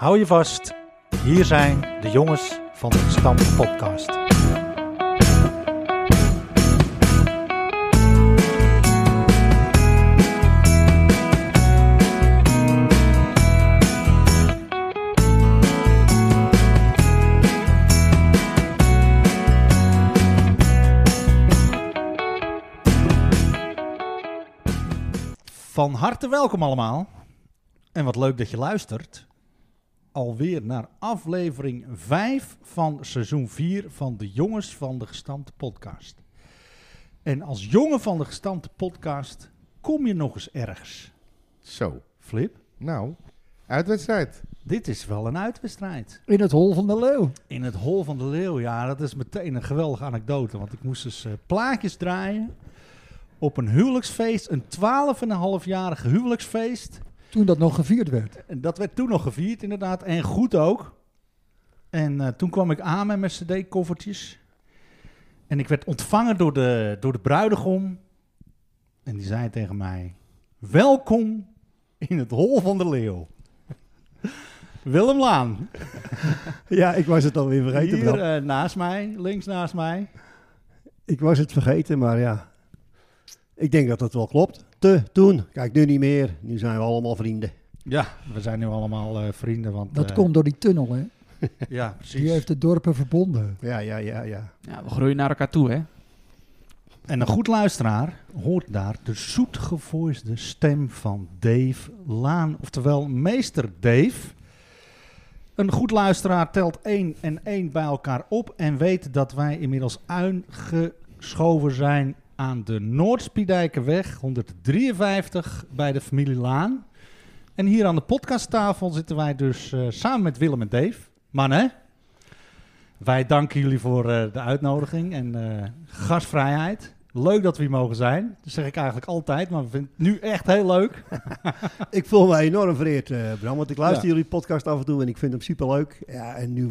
Hou je vast. Hier zijn de jongens van de Stam Podcast. Van harte welkom allemaal. En wat leuk dat je luistert. Alweer naar aflevering 5 van seizoen 4 van de Jongens van de Gestampte Podcast. En als jongen van de Gestampte Podcast kom je nog eens ergens. Zo. Flip, Nou, uitwedstrijd. dit is wel een uitwedstrijd. In het hol van de leeuw. In het Hol van de Leeuw, ja, dat is meteen een geweldige anekdote. Want ik moest dus eh, plaatjes draaien op een huwelijksfeest. Een 12,5-jarig huwelijksfeest. Toen dat nog gevierd werd. En dat werd toen nog gevierd, inderdaad. En goed ook. En eh, toen kwam ik aan met mijn cd-koffertjes. En ik werd ontvangen door de, door de bruidegom. En die zei tegen mij... Welkom in het Hol van de Leeuw. Willem Laan. Ja, ik was het alweer Hier eh, naast mij, links naast mij. Ik was het vergeten, maar ja. Ik denk dat dat wel klopt. Te toen. Kijk, nu niet meer. Nu zijn we allemaal vrienden. Ja, we zijn nu allemaal eh, vrienden. Want, Dat eh, komt door die tunnel, hè? Ja, Die precies. heeft de dorpen verbonden. Ja, ja, ja, ja. Ja, we groeien naar elkaar toe, hè? En een goed luisteraar hoort daar de zoetgevoiste stem van Dave Laan, oftewel meester Dave. Een goed luisteraar telt één en één bij elkaar op en weet dat wij inmiddels aangeschoven zijn aan de Noordspiedijkerweg 153 bij de familie Laan. En hier aan de podcasttafel zitten wij dus eh, samen met Willem en Dave. Mannen, wij danken jullie voor eh, de uitnodiging en eh, gastvrijheid. Leuk dat we hier mogen zijn. Dat zeg ik eigenlijk altijd, maar we vinden het nu echt heel leuk. Ik voel me enorm vereerd, eh, Bram. Want ik luister jullie podcast af en toe en ik vind hem superleuk. Ja, en nu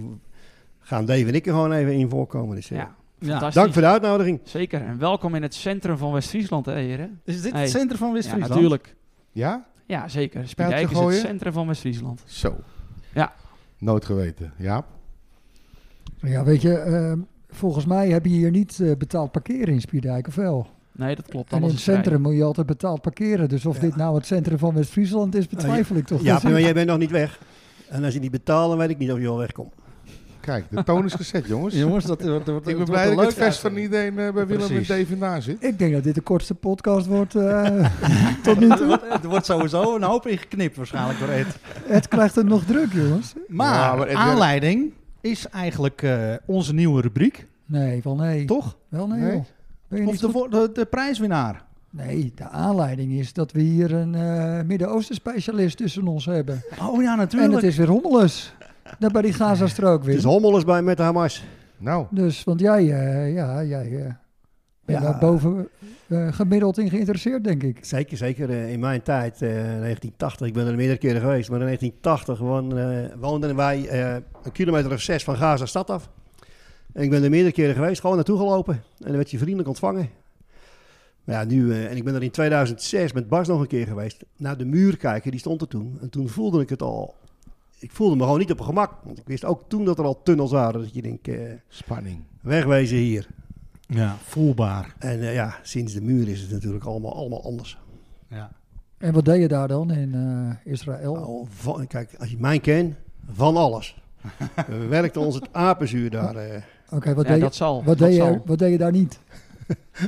gaan Dave en ik er gewoon even in voorkomen. Dus, eh, Ja, Ja. fantastisch. dank voor de uitnodiging. Zeker. En welkom in het centrum van West-Friesland, hè, heren? Is dit Hey. het centrum van Ja, West-Friesland? natuurlijk. Ja? Ja, zeker. Spiedijk is het gooien? centrum van West-Friesland. Zo. Ja. Nooit geweten. Jaap? Nou Ja, weet je, ehm, volgens mij heb je hier niet eh, betaald parkeren in Spierdijk, of wel? Nee, dat klopt. en in Alles het is vrij. centrum moet je altijd betaald parkeren. Dus of Ja. dit nou het centrum van West-Friesland is, betwijfel ik toch. Dus Ja, Dat is- maar jij bent nog niet weg. En als je niet betaalt, dan weet ik niet of je wel wegkomt. Kijk, de toon is gezet, jongens. Jongens, dat, dat, dat, Ik ben dat blij wordt dat een het leuk vest van uitzending. iedereen eh, bij Willem Precies. en Dave vandaan zit. Ik denk dat dit de kortste podcast wordt eh, tot nu toe. Het wordt sowieso een hoop ingeknipt waarschijnlijk door Ed. Het krijgt het nog druk, jongens. Maar, Ja, maar Ed- aanleiding is eigenlijk eh, onze nieuwe rubriek, Nee, wel nee. toch? Wel nee, Nee. joh. Ben je Of niet de, wo- de, de prijswinnaar. Nee, de aanleiding is dat we hier een eh, Midden-Oosten specialist tussen ons hebben. Oh ja, En het natuurlijk. is weer hommeles. Daar bij die Gazastrook Het is weer. hommelers bij met de Hamas. Nou, Dus, want jij, eh, ja, jij eh bent Ja. daar boven eh, gemiddeld in geïnteresseerd, denk ik. Zeker, zeker. Eh, in mijn tijd, eh, 1980, ik ben er meerdere keren geweest, maar in 1980 woon- eh, woonden wij eh, een kilometer of zes van Gaza stad af. En ik ben er meerdere keren geweest, gewoon naartoe gelopen. En dan werd je vriendelijk ontvangen. Maar ja, nu, eh, en ik ben er in 2006 met Bas nog een keer geweest, naar de muur kijken, die stond er toen. En toen voelde ik het al. Ik voelde me gewoon niet op mijn gemak. Want ik wist ook toen dat er al tunnels waren, dat je denkt, eh, spanning. wegwezen hier. Ja, voelbaar. En eh, ja, sinds de muur is het natuurlijk allemaal, allemaal anders. Ja. En wat deed je daar dan in eh, Israël? Oh, van- kijk, als je mij kent, van alles. We werkten ons het apenzuur daar. eh. Oké, wat, Ja, deed, je- dat zal. wat, dat deed je, zal. wat deed je daar niet?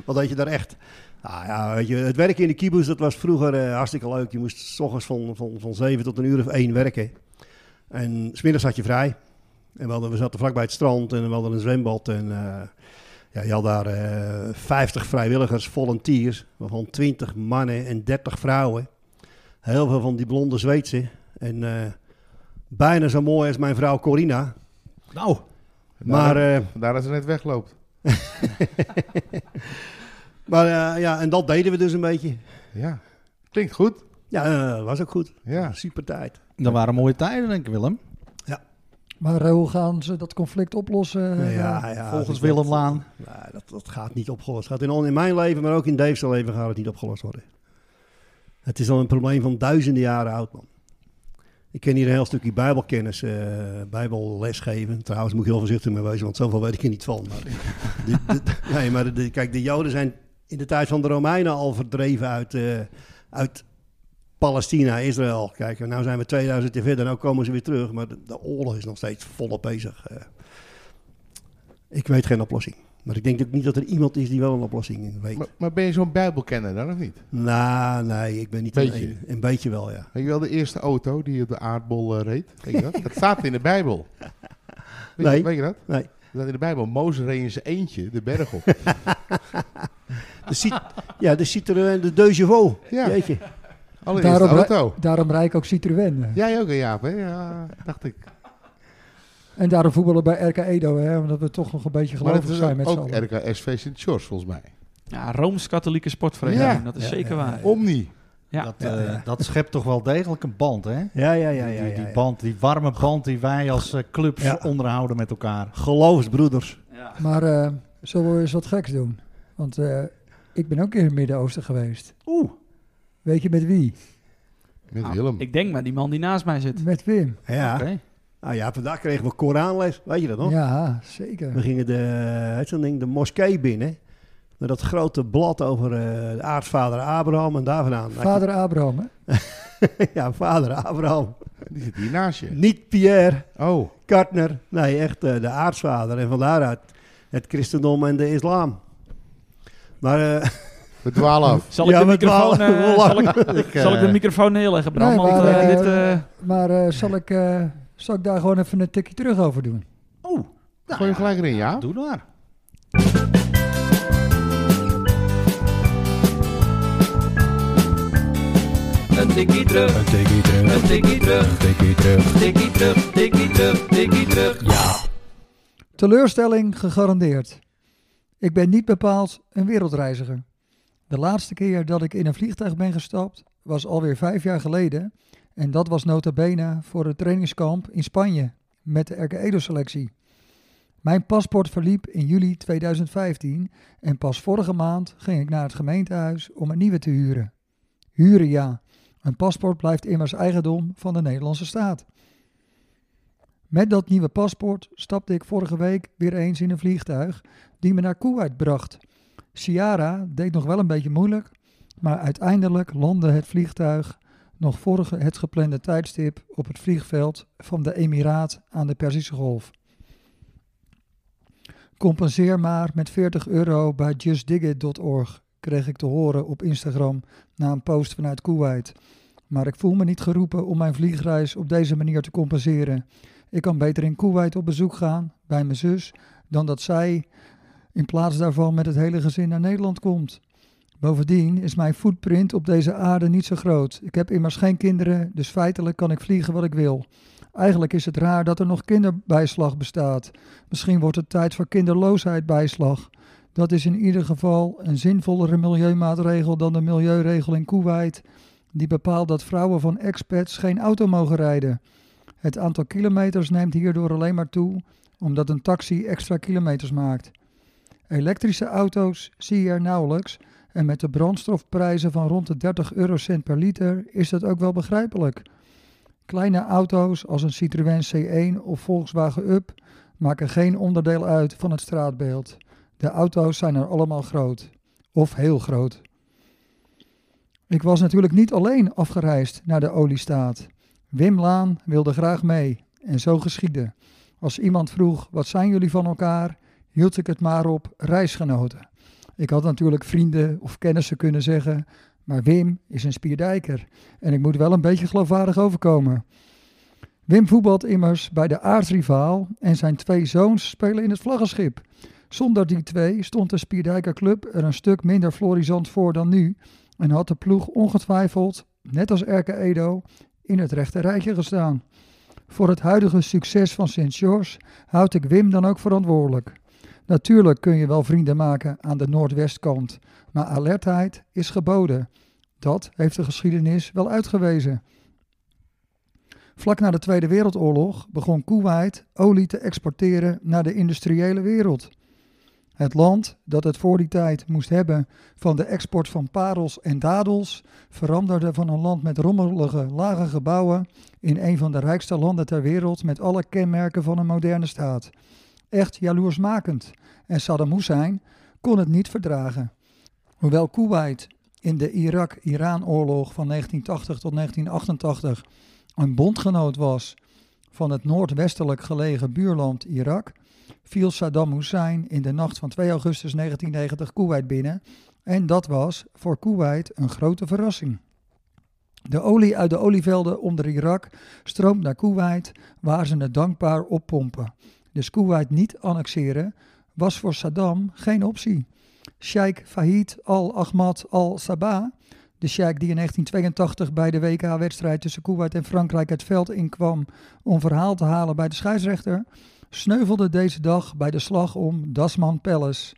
Wat deed je daar echt? Nou ja, weet je, het werken in de kibbutz, dat was vroeger eh, hartstikke leuk. Je moest s ochtends van, van, van 7 tot een uur of 1 werken. En smiddags had je vrij. En we, hadden, we zaten vlakbij het strand en we hadden een zwembad. En eh, ja, je had daar eh 50 vrijwilligers, volunteers, waarvan 20 mannen en 30 vrouwen. Heel veel van die blonde Zweedse. En eh, bijna zo mooi als mijn vrouw Corina. Nou, Maar, Vandaar- eh, Vandaar dat ze net wegloopt. maar eh, ja, en dat deden we dus een beetje. Ja. Klinkt goed. Ja, eh, was ook goed. Ja. Super tijd. dat waren mooie tijden, denk ik, Willem. Maar eh, hoe gaan ze dat conflict oplossen? Nou eh, daar? Volgens dat- Willem Laan. Ja, dat, dat gaat niet opgelost. Gaat in, al- in mijn leven, maar ook in Dave's leven gaat het niet opgelost worden. Het is al een probleem van duizenden jaren oud, man. Ik Ik ken hier een heel stukje bijbelkennis, eh bijbelles geven. Trouwens moet ik heel voorzichtig mee wezen, want zoveel weet ik er niet van. Maar de, de- nee, maar de- kijk, de Joden zijn in de tijd van de Romeinen al verdreven uit, eh, uit Palestina, Israël. Kijk, en nou zijn we 2000 jaar verder, nou komen ze weer terug. Maar de, de oorlog is nog steeds volop bezig. eh. ik weet geen oplossing. Maar ik denk ook niet dat er iemand is die wel een oplossing weet. Maar, maar ben je zo'n bijbelkenner dan of niet? Nou, nee, ik ben niet Beetje. een, een beetje wel, ja. Weet je wel, de eerste auto die op de aardbol eh, reed? Weet je dat? dat staat in de Bijbel. Weet, je- Nee. weet je dat? Nee. Dat staat in de Bijbel. Mozes reed in zijn eentje de berg op. De Cit- ja, de Citroën, de Deux Chevaux. Ja, Jeetje. allereerste Daarom- auto. Daarom rijd ik ook Citroën. eh. Jij ook, hè, Jaap, hè? Ja, dacht ik. En daarom voetballen bij RK Edo, hè, omdat we toch nog een Maar beetje gelovig het is zijn met z'n ook allen. RKSV Sint-George, volgens mij. Ja, Rooms-Katholieke sportvereniging, Ja. dat is Ja, zeker ja, waar. Omni. Ja. Dat, eh, dat schept toch wel degelijk een band, hè? Ja, ja, ja. die, ja, die, ja, ja. band, die warme band die wij als eh, clubs Ja. onderhouden met elkaar. Geloofsbroeders. Ja. Maar eh, zullen we eens wat geks doen? Want eh, ik ben ook in het Midden-Oosten geweest. Oeh. Weet je met wie? Met Ah, Willem. Ik denk maar die man die naast mij zit. Met Wim. Ja. Oké. Nou ja, vandaag kregen we Koranles. Weet je dat nog? Ja, zeker. We gingen de, heet zo'n ding, de moskee binnen. Met dat grote blad over eh, de aartsvader Abraham en daar vandaan. Nou, Vader Abraham, hè? ja, vader Abraham. Die zit hier naast je. Niet Pierre, Oh, Kartner. Nee, echt eh, de aartsvader. En van daaruit het christendom en de islam. Maar eh, we dwalen af. Zal ik, Ja, de, we microfoon, dwalen eh, lang. zal, ik, Ik, eh, zal ik de microfoon neerleggen, Bram? Nee, want maar, eh, eh, dit, eh, Maar eh, zal, ik, eh, zal ik daar gewoon even een tikje terug over doen? Oeh. Nou Gooi ja, hem gelijk erin, ja? Doe maar. Een tikkie terug, een tikkie terug, een tikkie terug, een tikkie terug, tikkie terug, tikkie terug, tikkie terug. Ja, Teleurstelling gegarandeerd. Ik ben niet bepaald een wereldreiziger. De laatste keer dat ik in een vliegtuig ben gestapt was alweer vijf jaar geleden. En dat was nota bene voor het trainingskamp in Spanje met de RK Edo selectie. Mijn paspoort verliep in juli 2015 en pas vorige maand ging ik naar het gemeentehuis om een nieuwe te huren. Huren ja, een paspoort blijft immers eigendom van de Nederlandse staat. Met dat nieuwe paspoort stapte ik vorige week weer eens in een vliegtuig die me naar Kuwait bracht. Ciara deed nog wel een beetje moeilijk, maar uiteindelijk landde het vliegtuig nog vorige het geplande tijdstip op het vliegveld van de Emiraat aan de Perzische Golf. Compenseer maar met 40 euro bij justdigit.org, kreeg ik te horen op Instagram na een post vanuit Kuwait. Maar ik voel me niet geroepen om mijn vliegreis op deze manier te compenseren. Ik kan beter in Kuwait op bezoek gaan bij mijn zus dan dat zij in plaats daarvan met het hele gezin naar Nederland komt. Bovendien is mijn footprint op deze aarde niet zo groot. Ik heb immers geen kinderen, dus feitelijk kan ik vliegen wat ik wil. Eigenlijk is het raar dat er nog kinderbijslag bestaat. Misschien wordt het tijd voor kinderloosheidbijslag. Dat is in ieder geval een zinvollere milieumaatregel dan de milieuregel in Kuwait, die bepaalt dat vrouwen van expats geen auto mogen rijden. Het aantal kilometers neemt hierdoor alleen maar toe omdat een taxi extra kilometers maakt. Elektrische auto's zie je er nauwelijks en met de brandstofprijzen van rond de 30 eurocent per liter is dat ook wel begrijpelijk. Kleine auto's als een Citroën C1 of Volkswagen Up maken geen onderdeel uit van het straatbeeld. De auto's zijn er allemaal groot of heel groot. Ik was natuurlijk niet alleen afgereisd naar de oliestaat. Wim Laan wilde graag mee en zo geschiedde. Als iemand vroeg wat zijn jullie van elkaar, hield ik het maar op reisgenoten. Ik had natuurlijk vrienden of kennissen kunnen zeggen, maar Wim is een spierdijker en ik moet wel een beetje geloofwaardig overkomen. Wim voetbalt immers bij de aardsrivaal en zijn twee zoons spelen in het vlaggenschip. Zonder die twee stond de Spierdijker Club er een stuk minder florisant voor dan nu en had de ploeg ongetwijfeld, net als Erke Edo, in het rechte rijtje gestaan. Voor het huidige succes van St. George houd ik Wim dan ook verantwoordelijk. Natuurlijk kun je wel vrienden maken aan de noordwestkant, maar alertheid is geboden. Dat heeft de geschiedenis wel uitgewezen. Vlak na de Tweede Wereldoorlog begon Kuwait olie te exporteren naar de industriële wereld. Het land dat het voor die tijd moest hebben van de export van parels en dadels, veranderde van een land met rommelige, lage gebouwen in een van de rijkste landen ter wereld met alle kenmerken van een moderne staat. Echt jaloersmakend. En Saddam Hussein kon het niet verdragen. Hoewel Kuwait in de Irak-Iraan-oorlog van 1980 tot 1988 een bondgenoot was van het noordwestelijk gelegen buurland Irak, viel Saddam Hussein in de nacht van 2 augustus 1990 Kuwait binnen. En dat was voor Kuwait een grote verrassing. De olie uit de olievelden onder Irak stroomt naar Kuwait, waar ze het dankbaar oppompen. Dus Kuwait niet annexeren was voor Saddam geen optie. Sheikh Fahid al-Ahmad al-Sabah, de sheikh die in 1982 bij de WK-wedstrijd tussen Kuwait en Frankrijk het veld inkwam om verhaal te halen bij de scheidsrechter, sneuvelde deze dag bij de slag om Dasman Palace.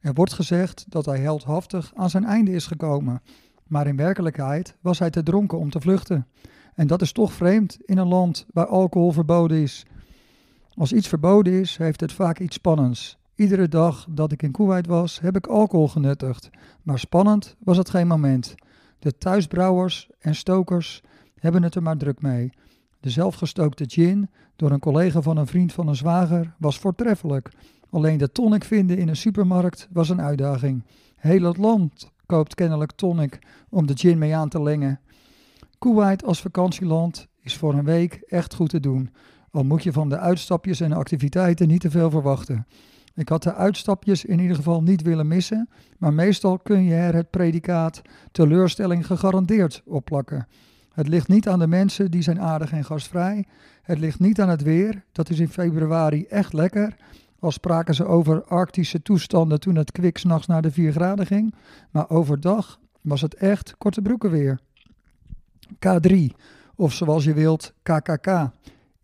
Er wordt gezegd dat hij heldhaftig aan zijn einde is gekomen, maar in werkelijkheid was hij te dronken om te vluchten. En dat is toch vreemd in een land waar alcohol verboden is. Als iets verboden is, heeft het vaak iets spannends. Iedere dag dat ik in Kuwait was, heb ik alcohol genuttigd. Maar spannend was het geen moment. De thuisbrouwers en stokers hebben het er maar druk mee. De zelfgestookte gin, door een collega van een vriend van een zwager, was voortreffelijk. Alleen de tonic vinden in een supermarkt was een uitdaging. Heel het land koopt kennelijk tonic om de gin mee aan te lengen. Kuwait als vakantieland is voor een week echt goed te doen. Al moet je van de uitstapjes en activiteiten niet te veel verwachten. Ik had de uitstapjes in ieder geval niet willen missen, maar meestal kun je er het predicaat teleurstelling gegarandeerd op plakken. Het ligt niet aan de mensen, die zijn aardig en gastvrij. Het ligt niet aan het weer, dat is in februari echt lekker. Al spraken ze over arctische toestanden toen het kwik s'nachts naar de 4 graden ging. Maar overdag was het echt korte broeken weer. K3, of zoals je wilt, KKK,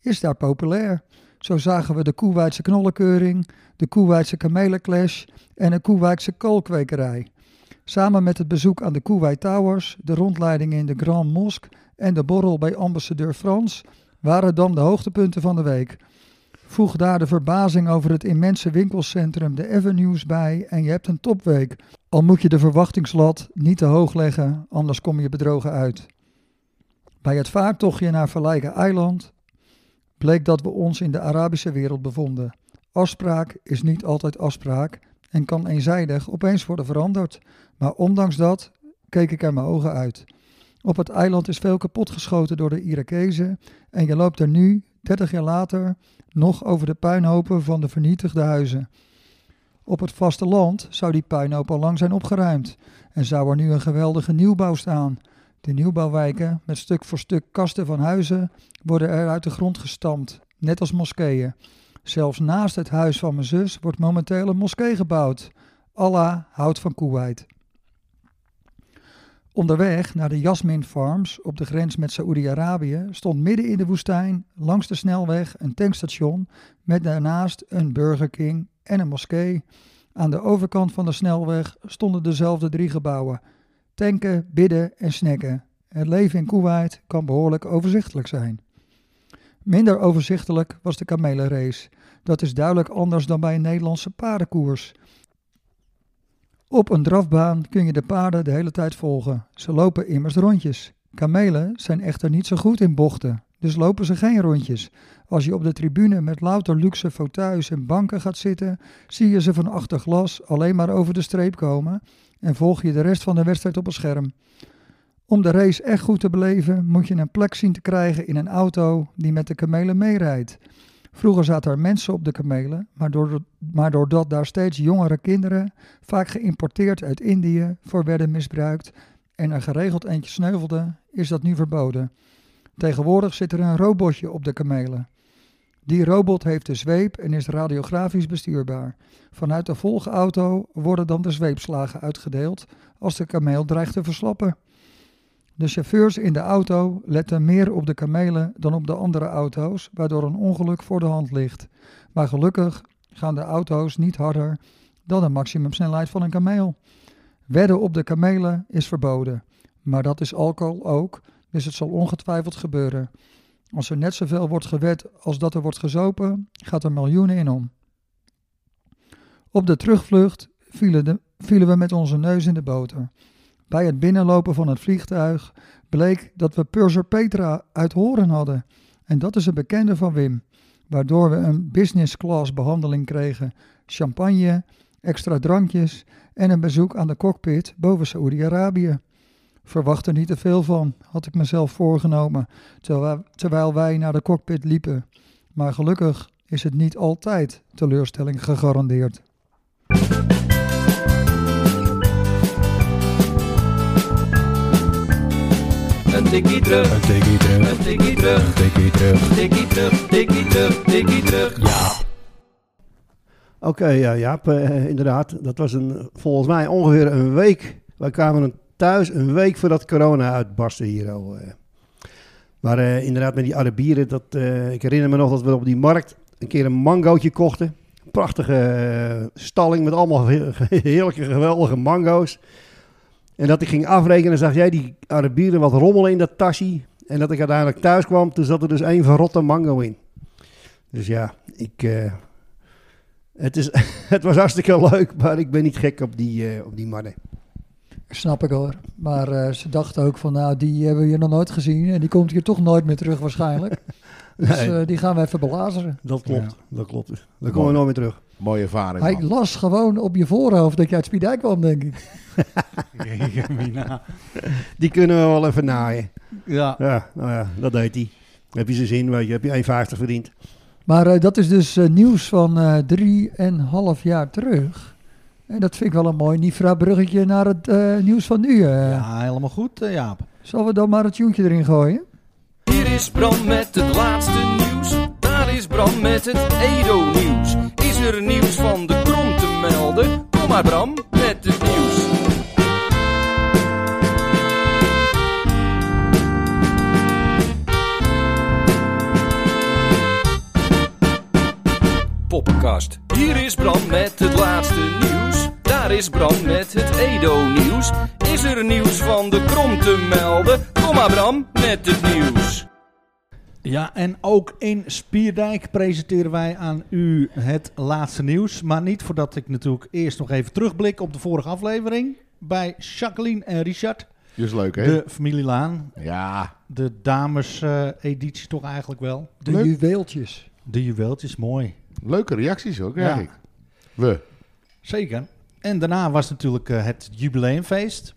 is daar populair. Zo zagen we de Koeweitse knollenkeuring, de Koeweitse kamelenclash en een Koeweitse koolkwekerij. Samen met het bezoek aan de Kuwait Towers, de rondleiding in de Grand Mosque en de borrel bij ambassadeur Frans waren dan de hoogtepunten van de week. Voeg daar de verbazing over het immense winkelcentrum de Avenues bij en je hebt een topweek. Al moet je de verwachtingslat niet te hoog leggen, anders kom je bedrogen uit. Bij het vaartochtje naar Verlijken Eiland bleek dat we ons in de Arabische wereld bevonden. Afspraak is niet altijd afspraak en kan eenzijdig opeens worden veranderd. Maar ondanks dat keek ik er mijn ogen uit. Op het eiland is veel kapotgeschoten door de Irakezen en je loopt er nu, 30 jaar later, nog over de puinhopen van de vernietigde huizen. Op het vasteland zou die puinhoop al lang zijn opgeruimd en zou er nu een geweldige nieuwbouw staan. De nieuwbouwwijken, met stuk voor stuk kasten van huizen, worden er uit de grond gestampt, net als moskeeën. Zelfs naast het huis van mijn zus wordt momenteel een moskee gebouwd. Allah houdt van Kuwait. Onderweg naar de Jasmin Farms op de grens met Saoedi-Arabië stond midden in de woestijn langs de snelweg een tankstation met daarnaast een Burger King en een moskee. Aan de overkant van de snelweg stonden dezelfde drie gebouwen. Tanken, bidden en snacken. Het leven in Kuwait kan behoorlijk overzichtelijk zijn. Minder overzichtelijk was de kamelenrace. Dat is duidelijk anders dan bij een Nederlandse paardenkoers. Op een drafbaan kun je de paarden de hele tijd volgen. Ze lopen immers rondjes. Kamelen zijn echter niet zo goed in bochten, dus lopen ze geen rondjes. Als je op de tribune met louter luxe fauteuils en banken gaat zitten, zie je ze van achter glas alleen maar over de streep komen en volg je de rest van de wedstrijd op een scherm. Om de race echt goed te beleven, moet je een plek zien te krijgen in een auto die met de kamelen meerijdt. Vroeger zaten er mensen op de kamelen, maar, doord- maar doordat daar steeds jongere kinderen, vaak geïmporteerd uit Indië, voor werden misbruikt en er geregeld eentje sneuvelde, is dat nu verboden. Tegenwoordig zit er een robotje op de kamelen. Die robot heeft de zweep en is radiografisch bestuurbaar. Vanuit de volgauto worden dan de zweepslagen uitgedeeld als de kameel dreigt te verslappen. De chauffeurs in de auto letten meer op de kamelen dan op de andere auto's, waardoor een ongeluk voor de hand ligt. Maar gelukkig gaan de auto's niet harder dan de maximumsnelheid van een kameel. Wedden op de kamelen is verboden, maar dat is alcohol ook, dus het zal ongetwijfeld gebeuren. Als er net zoveel wordt gewed als dat er wordt gezopen, gaat er miljoenen in om. Op de terugvlucht vielen, de, vielen we met onze neus in de boter. Bij het binnenlopen van het vliegtuig bleek dat we Purser Petra uit Horen hadden. En dat is een bekende van Wim, waardoor we een business class behandeling kregen. Champagne, extra drankjes en een bezoek aan de cockpit boven Saoedi-Arabië. Verwacht er niet te veel van, had ik mezelf voorgenomen, terwijl wij- terwijl wij naar de cockpit liepen. Maar gelukkig is het niet altijd teleurstelling gegarandeerd. Een tikkie terug, Een tikkie terug, een tikkie terug, een tikkie terug. tikkie terug, tikkie terug, tikkie terug. Oké, ja, Jaap, eh, inderdaad. Dat was een, volgens mij ongeveer een week. Wij kwamen een- thuis een week voordat corona uitbarstte hier al. eh. Maar eh, inderdaad, met die Arabieren, dat, eh, ik herinner me nog dat we op die markt een keer een mangootje kochten. Prachtige eh, stalling met allemaal he- heerlijke, geweldige mango's. En dat ik ging afrekenen, zag jij die Arabieren wat rommelen in dat tasje. En dat ik uiteindelijk thuis kwam, toen zat er dus één verrotte mango in. Dus ja, ik, eh, het, is, het was hartstikke leuk, maar ik ben niet gek op die, eh, op die mannen. Snap ik hoor. Maar eh, ze dachten ook van, nou, die hebben we hier nog nooit gezien. En die komt hier toch nooit meer terug waarschijnlijk. Dus Nee. eh, die gaan we even belazeren. Dat klopt, dat klopt. Daar komen we nooit meer terug. Mooie ervaring. Hij Man. las gewoon op je voorhoofd dat je uit Spiedijk kwam, denk ik. Jemina. Die kunnen we wel even naaien. ja. Ja, nou ja, dat deed hij. Heb je zijn zin, weet je. Heb je 1,50 verdiend. Maar eh, dat is dus eh, nieuws van eh drieënhalf jaar terug. En dat vind ik wel een mooi Nifra-bruggetje naar het eh, nieuws van nu. eh. ja, helemaal goed, eh, Jaap. Zullen we dan maar het tuintje erin gooien? Hier is Bram met het laatste nieuws. Daar is Bram met het Edo-nieuws. Is er nieuws van de krom te melden? Kom maar Bram met het nieuws. Poppenkast. Hier is Bram met het laatste nieuws. Daar is Bram met het Edo-nieuws. Is er nieuws van de krom te melden? Kom maar Bram met het nieuws. Ja, en ook in Spierdijk presenteren wij aan u het laatste nieuws. Maar niet voordat ik natuurlijk eerst nog even terugblik op de vorige aflevering. Bij Jacqueline en Richard, Dus leuk, hè? de familielaan. Ja. De dames-editie toch eigenlijk wel. De Leuk. juweeltjes. De juweeltjes, mooi. Leuke reacties hoor, krijg Ja. ik. We. Zeker. En daarna was natuurlijk eh, het jubileumfeest.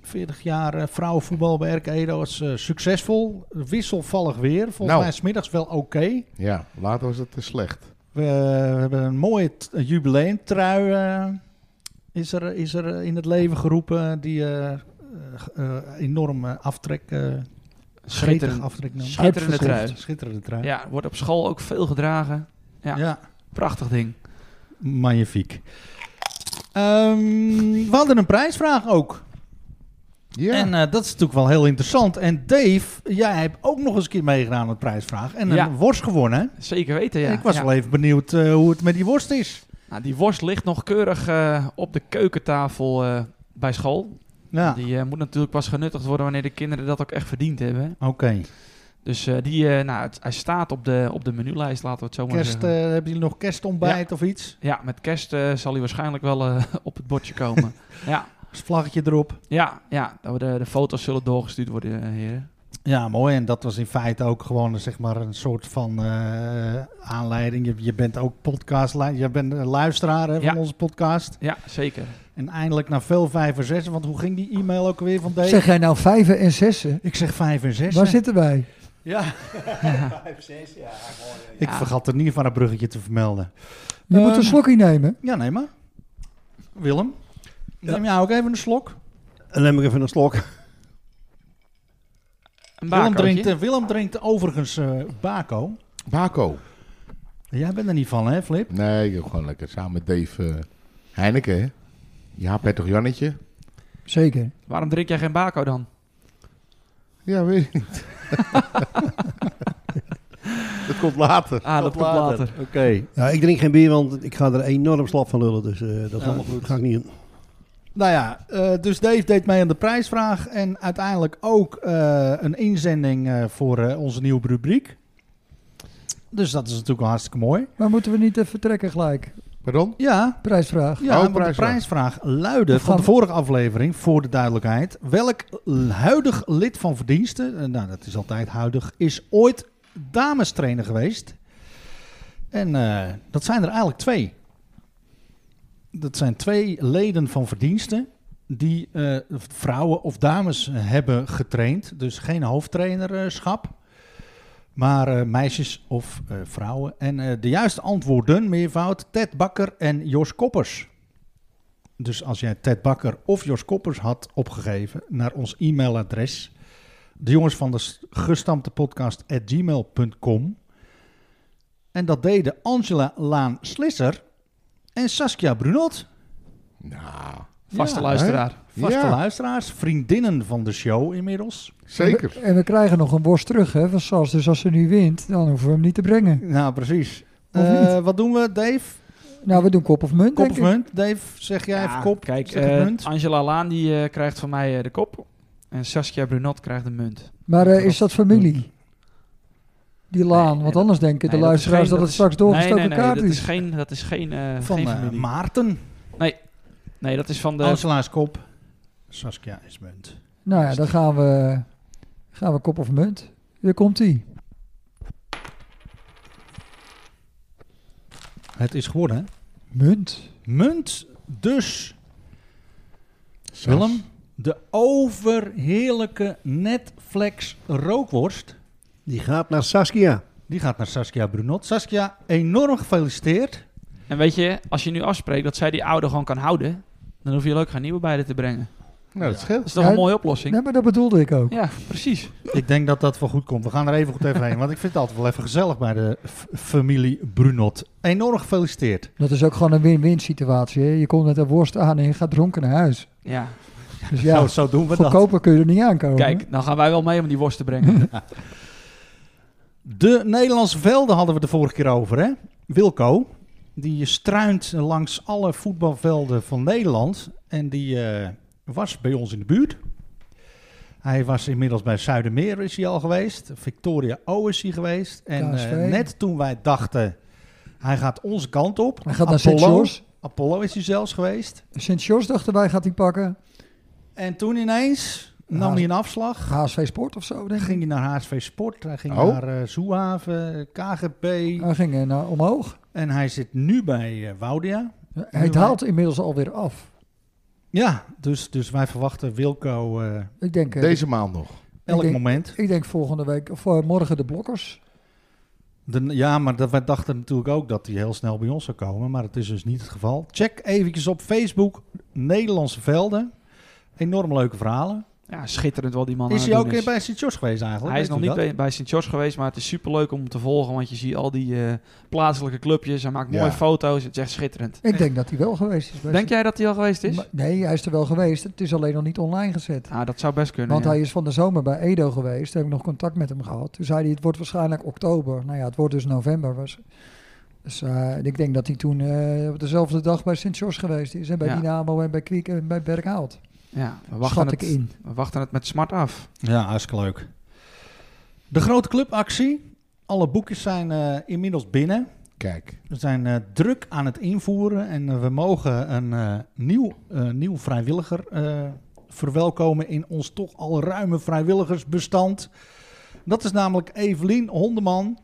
40 jaar eh, vrouwenvoetbal bij RK Edo was eh, succesvol. Wisselvallig weer. Volgens Nou. mij is 's middags wel oké. Ja, later was het te slecht. We eh, hebben een mooie t- een jubileumtrui eh, is, er, is er eh, in het leven geroepen die eh, eh, g- eh, enorm eh, aftrek, eh gretig Schitterend. aftrek nam. Schitterende trui. Schitterende trui. Ja, wordt op school ook veel gedragen. Ja. Prachtig ding. magnifiek. Ehm, we hadden een prijsvraag ook. Ja. En eh, dat is natuurlijk wel heel interessant. En Dave, jij hebt ook nog eens een keer meegedaan met prijsvraag. En Ja. een worst gewonnen. hè? Zeker weten, ja. ik was Ja. wel even benieuwd eh, hoe het met die worst is. Nou, die worst ligt nog keurig eh, op de keukentafel eh, bij school. Ja, Die eh, moet natuurlijk pas genuttigd worden wanneer de kinderen dat ook echt verdiend hebben. oké. Dus eh, die, eh, nou, het- hij staat op de, op de menulijst, laten we het zo maar Kerst, zeggen. eh, hebben jullie nog kerstontbijt of iets? Ja, met kerst eh, zal hij waarschijnlijk wel eh, op het bordje komen. ja, Is het vlaggetje erop. ja, ja. Dat we De, de foto's zullen doorgestuurd worden, eh, heren. Ja, mooi. En dat was in feite ook gewoon eh, zeg maar, een soort van eh, aanleiding. Je, je bent ook podcast, je bent een luisteraar hè, van Ja. onze podcast. Ja, zeker. En eindelijk na veel vijf en zes, want hoe ging die e-mail ook weer van deze? Zeg jij nou vijven en zessen? Ik zeg vijf en zes. Waar hè? zitten wij? Ja. Ik vergat er niet van een bruggetje te vermelden. Je moet Ehm. een slokje nemen. Ja, neem maar. Willem, neem jij ook even een slok? En dan heb ik even een slok. Een Willem drinkt, bakootje. eh, Willem drinkt overigens eh, Baco. Baco. Jij bent er niet van, hè, Flip? Nee, ik doe gewoon lekker. Samen met Dave eh, Heineken, hè? Ja, Petter Jannetje. Zeker. Waarom drink jij geen bako dan? Ja, weet ik niet. dat komt later. Ah, dat komt later. Oké. Ja, ik drink geen bier, want ik ga er enorm slap van lullen. Dus eh, dat ga, ga ik niet doen. Nou ja, eh, dus Dave deed mee aan de prijsvraag. En uiteindelijk ook eh, een inzending eh, voor eh, onze nieuwe rubriek. Dus dat is natuurlijk wel hartstikke mooi. Maar moeten we niet even vertrekken gelijk? Pardon? Ja, Prijsvraag. ja Oh, want de prijsvraag. prijsvraag luidde van de vorige aflevering, voor de duidelijkheid. Welk l- huidig lid van verdiensten, eh, nou dat is altijd huidig, is ooit damestrainer geweest? En eh, dat zijn er eigenlijk twee. Dat zijn twee leden van verdiensten die eh, vrouwen of dames eh, hebben getraind. Dus geen hoofdtrainerschap. Maar eh, meisjes of eh, vrouwen. En eh, de juiste antwoorden, meervoud, Ted Bakker en Jos Koppers. Dus als jij Ted Bakker of Jos Koppers had opgegeven naar ons e-mailadres. De jongens van de s- gestampte podcast at gmail.com. En dat deden Angela Laan Slisser en Saskia Brunot. Nou, Vaste Ja, luisteraar. Vaste Ja. luisteraars, vriendinnen van de show inmiddels. zeker. En we, en we krijgen nog een worst terug hè, van Sas. Dus als ze nu wint, dan hoeven we hem niet te brengen. Nou, precies. Of Eh, wat doen we, Dave? Nou, we doen kop of munt, Kop denk of ik. munt? Dave, zeg jij even kop. Kijk, zeg het eh, munt. Angela Laan die eh, krijgt van mij eh, de kop. En Saskia Brunot krijgt de munt. Maar eh, is dat familie? Die laan, nee, want dat- anders denken de Nee, is luisteraars geen- dat, het straks nee, doorgestoken nee, nee, kaart dat is. is geen, dat is geen, eh, van geen eh, familie. Maarten. nee, dat is van de... Angela is kop. Saskia is munt. Nou ja, dan gaan we, gaan we kop of munt. Hier komt ie. Het is geworden, hè? Munt. Munt dus. Willem, de overheerlijke Netflix rookworst. Die gaat naar Saskia. Die gaat naar Saskia Brunot. Saskia, enorm gefeliciteerd. En weet je, als je nu afspreekt dat zij die oude gewoon kan houden... dan hoef je leuk geen nieuwe bij haar te brengen. Nou, dat scheelt. Dat is toch Ja, een mooie oplossing? Nee, maar dat bedoelde ik ook. Ja, precies. Ik denk dat dat wel goed komt. We gaan er even goed even heen. Want ik vind het altijd wel even gezellig bij de f- familie Brunot. Enorm gefeliciteerd. Dat is ook gewoon een win-win situatie. Hè? Je komt met een worst aan en je gaat dronken naar huis. Ja. Dus ja, Zo, zo doen we dat. goedkoper kun je er niet aankomen. Kijk, dan gaan wij wel mee om die worst te brengen. De Nederlandse velden hadden we de vorige keer over, hè? Wilco. Die struint langs alle voetbalvelden van Nederland. En die eh, was bij ons in de buurt. Hij was inmiddels bij Zuidermeer is hij al geweest. Victoria O is hij geweest. En KSV. eh, net toen wij dachten, hij gaat onze kant op. Hij gaat naar Apollo. Sint-George. Apollo is hij zelfs geweest. Sint-George dachten wij gaat hij pakken. En toen ineens nam Ja. hij een afslag. HSV Sport of zo, denk ik. Ging hij naar HSV Sport. Hij ging Oh. naar eh Zoehaven, KGP. Hij ging eh, naar omhoog. En hij zit nu bij eh, Woudia. Hij daalt inmiddels alweer af. Ja, dus, dus wij verwachten Wilco eh, Ik denk, eh, Deze maand nog. elk denk- moment. ik denk volgende week, of eh, morgen de blokkers. De, ja, maar dat, wij dachten natuurlijk ook dat hij heel snel bij ons zou komen. Maar dat is dus niet het geval. Check eventjes op Facebook Nederlandse Velden. Enorm leuke verhalen. Ja, schitterend wel die man is aan hij het ook doen weer bij Sint Jos geweest eigenlijk? Hij is Weet nog u niet dat? bij, bij St. George geweest, maar het is superleuk om hem te volgen. Want je ziet al die eh, plaatselijke clubjes. Hij maakt mooie Ja. foto's. Het is echt schitterend. Ik denk dat hij wel geweest is. bij Denk jij dat hij al geweest is? Maar- Nee, hij is er wel geweest. Het is alleen nog niet online gezet. Ah, dat zou best kunnen. Want ja. hij is van de zomer bij Edo geweest. Daar heb ik nog contact met hem gehad. Toen zei hij, het wordt waarschijnlijk oktober. Nou ja, het wordt dus november. Was. Dus eh, en ik denk dat hij toen eh, op dezelfde dag bij Sint George geweest is. En bij Ja. Dynamo en bij Kwiek en bij Berghout. ja, we, wachten Schat het, ik in. we wachten het met smart af. Ja, hartstikke leuk. De grote clubactie. Alle boekjes zijn eh, inmiddels binnen. Kijk. We zijn eh, druk aan het invoeren en eh, we mogen een eh, nieuw, eh, nieuw vrijwilliger eh, verwelkomen in ons toch al ruime vrijwilligersbestand. Dat is namelijk Evelien Hondeman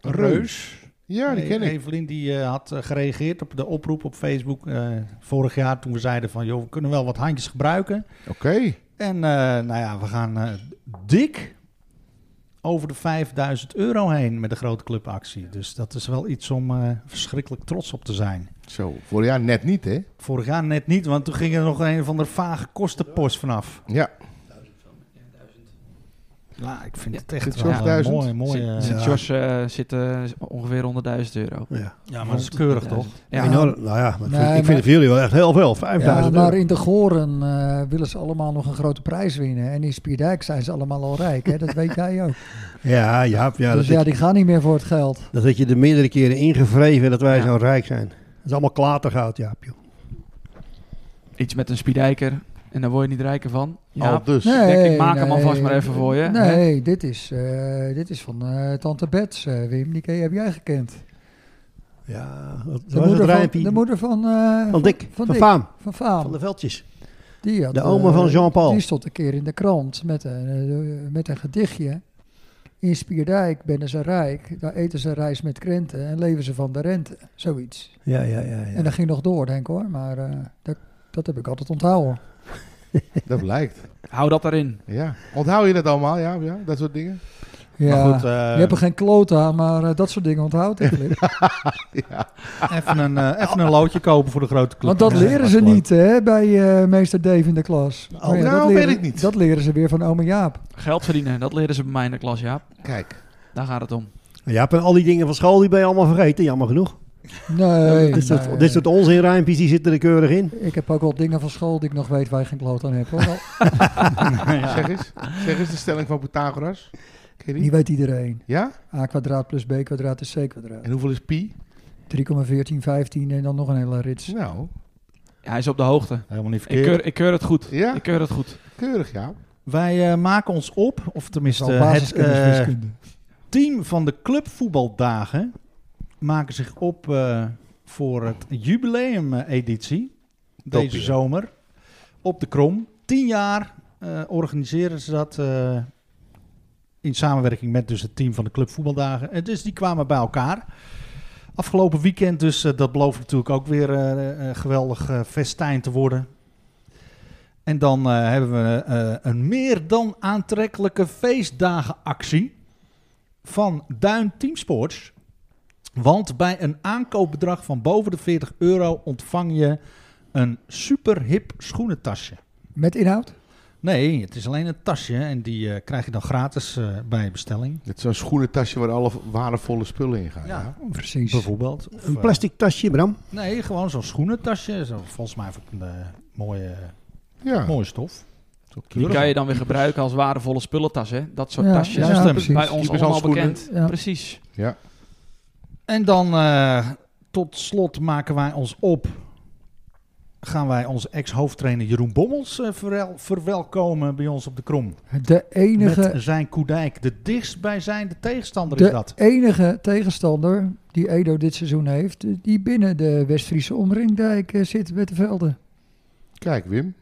Reus. Ja, die E- ken ik. Evelien die eh, had eh, gereageerd op de oproep op Facebook eh, vorig jaar toen we zeiden van joh, we kunnen wel wat handjes gebruiken. Oké. En eh, nou ja, we gaan eh, dik over de 5000 euro heen met de grote clubactie. Dus dat is wel iets om eh, verschrikkelijk trots op te zijn. Zo, vorig jaar net niet, hè? Vorig jaar net niet, want toen ging er nog een van de vage kostenpost vanaf. Ja. Ja, ik vind Ja, het echt dit is wel ook een 1000. mooi, mooi. eh, St. George eh, zit eh, ongeveer 100.000 euro. Ja. ja, maar dat is keurig toch? Ja, Enorm. Nou ja, maar ik vind, Nee, ik vind maar- het voor jullie wel echt heel veel. 5000 maar euro. in de Goren eh, willen ze allemaal nog een grote prijs winnen. En in Spierdijk zijn ze allemaal al rijk. Hè? Dat weet jij ook. Ja, Jaap, ja, dat, dus ja, die gaan niet meer voor het geld. dat heb je er meerdere keren ingevreven dat wij Ja. zo rijk zijn. Dat is allemaal klatergoud, Jaap. Joh. iets met een spiedijker. En daar word je niet rijker van. Ja, Al dus. ik denk, ik maak hem alvast maar even voor je. Nee, dit is, eh, dit is van eh, Tante Bets, eh, Wim. Die ken- heb jij gekend. Ja, dat De was het moeder van, rijmpie. de moeder van, eh, Van Dick, van van, Dick. Faam, van Faam. van de Veldjes. die had, de oma eh, van Jean-Paul. Die stond een keer in de krant met een, eh, met een gedichtje. In Spierdijk bennen ze rijk, daar eten ze rijst met krenten en leven ze van de rente. Zoiets. Ja, ja, ja. En ja. dat ging nog door, denk ik hoor. Maar eh, dat, dat heb ik altijd onthouden. Dat blijkt. Hou dat erin. Ja. Onthoud je dat allemaal? Ja, ja dat soort dingen. Ja, Maar goed, eh, je hebt er geen kloot aan, maar eh, dat soort dingen onthoud ik. Lip. even, een, eh, even een loodje kopen voor de grote club. Want dat Ja, leren was ze leuk. niet hè, bij eh, meester Dave in de klas. Maar ja, nou, dat leren, weet ik niet. Dat leren ze weer van oma Jaap. Geld verdienen, dat leren ze bij mij in de klas, Jaap. Kijk. Daar gaat het om. Jaap, en al die dingen van school die ben je allemaal vergeten, jammer genoeg. Nee, dit, soort, nee. dit soort onzinrijmpjes die zitten er keurig in. Ik heb ook wel dingen van school die ik nog weet waar je geen kloot aan hebt. Hoor. Ah, Zeg eens. Zeg eens de stelling van Pythagoras. Ken je die? Die weet iedereen. Ja? A kwadraat plus B kwadraat is C kwadraat. En hoeveel is pi? 3,14, 15 en dan nog een hele rits. Nou. Ja, hij is op de hoogte. Helemaal niet Ik verkeerd. keur, ik keur het goed. Ja. Ik keur het goed. Keurig, ja. Wij eh, maken ons op, of tenminste Al eh, het basiskennis eh, wiskunde. team van de clubvoetbaldagen maken zich op eh, voor het jubileumeditie deze Dopie, hè? zomer op de Krom. Tien jaar eh, organiseren ze dat eh, in samenwerking met dus het team van de clubvoetbaldagen. En dus die kwamen bij elkaar. Afgelopen weekend dus, eh, dat belooft natuurlijk ook weer eh, eh, geweldig eh, festijn te worden. En dan eh, hebben we eh, een meer dan aantrekkelijke feestdagenactie van Duin Teamsports. Want bij een aankoopbedrag van boven de 40 euro ontvang je een super hip schoenentasje. Met inhoud? Nee, het is alleen een tasje en die eh, krijg je dan gratis eh, bij je bestelling. Het is zo'n schoenentasje waar alle waardevolle spullen in gaan. Ja. Oh, Precies. bijvoorbeeld. Of, Een eh, plastic tasje, Bram. nee, gewoon zo'n schoenentasje. Zo, volgens mij van een eh, mooie, Ja. mooie stof. Zo Die keurig. kan je dan weer gebruiken als waardevolle spullentas, hè? Dat soort Ja, tasjes. ja, Dat is precies. bij ons Typisch allemaal handschoenen. bekend. Ja. Precies. ja. En dan eh, tot slot maken wij ons op. Gaan wij onze ex-hoofdtrainer Jeroen Bommels eh, verwel- verwelkomen bij ons op de krom. De enige, Met zijn Koedijk. De dichtstbijzijnde tegenstander is de dat. enige tegenstander die Edo dit seizoen heeft, die binnen de West-Friese omringdijk eh, zit met de velden. Kijk, Wim.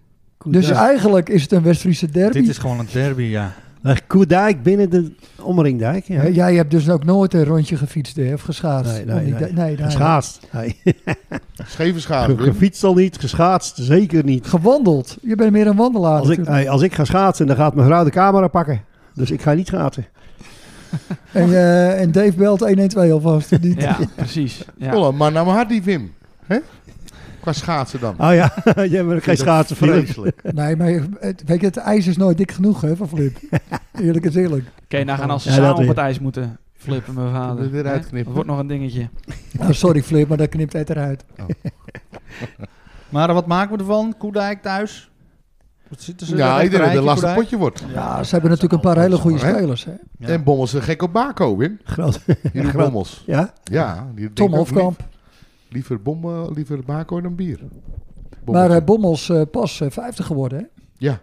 Dus eigenlijk is het een West-Friese derby. Dit is gewoon een derby, ja. Leg Koedijk binnen de omringdijk. Ja. Hè, Jij hebt dus ook nooit een rondje gefietst hè, of geschaatst. Nee, nee, Om die- nee. nee. Geschaatst. Nee. Scheve schade, Wim. Gefietst al niet, geschaatst zeker niet. Gewandeld. Je bent meer een wandelaar Als ik, natuurlijk. hey, als ik ga schaatsen, dan gaat mijn vrouw de camera pakken. Dus ik ga niet schaatsen. En, eh, en Dave belt 112 alvast. Die, Ja, precies. Ja. Volle man naar mijn hart, nou die Wim. hè? Qua schaatsen dan. Oh ja, jij bent ook geen schaatsen Vreselijk. Nee, maar je- het, weet je, het ijs is nooit dik genoeg hè, van Flip. Eerlijk is eerlijk. Oké, nou gaan als ze Ja, samen dat op weer. het ijs moeten flippen, mijn vader. Kunnen we dit Hè? uitknippen? Dat wordt nog een dingetje. Nou, sorry Flip, maar dat knipt het eruit. Maar eh, wat maken we ervan? Koedijk thuis? Wat zitten ze? Ja, Daar ik denk dat het rijtje een lastig Koedijk? potje wordt. Ja, ze hebben natuurlijk een paar hele goede hè? spelers. Hè? Ja. En Bommels is gek op Baco, Wim. Groot. Jeroen groot. Bommels. Ja? Ja. Die Tom denkt ook Hofkamp. lief- Liever, bommen, liever Baco dan bier. Maar Bommels. eh, Bommels eh, pas eh, 50 geworden. Hè? ja.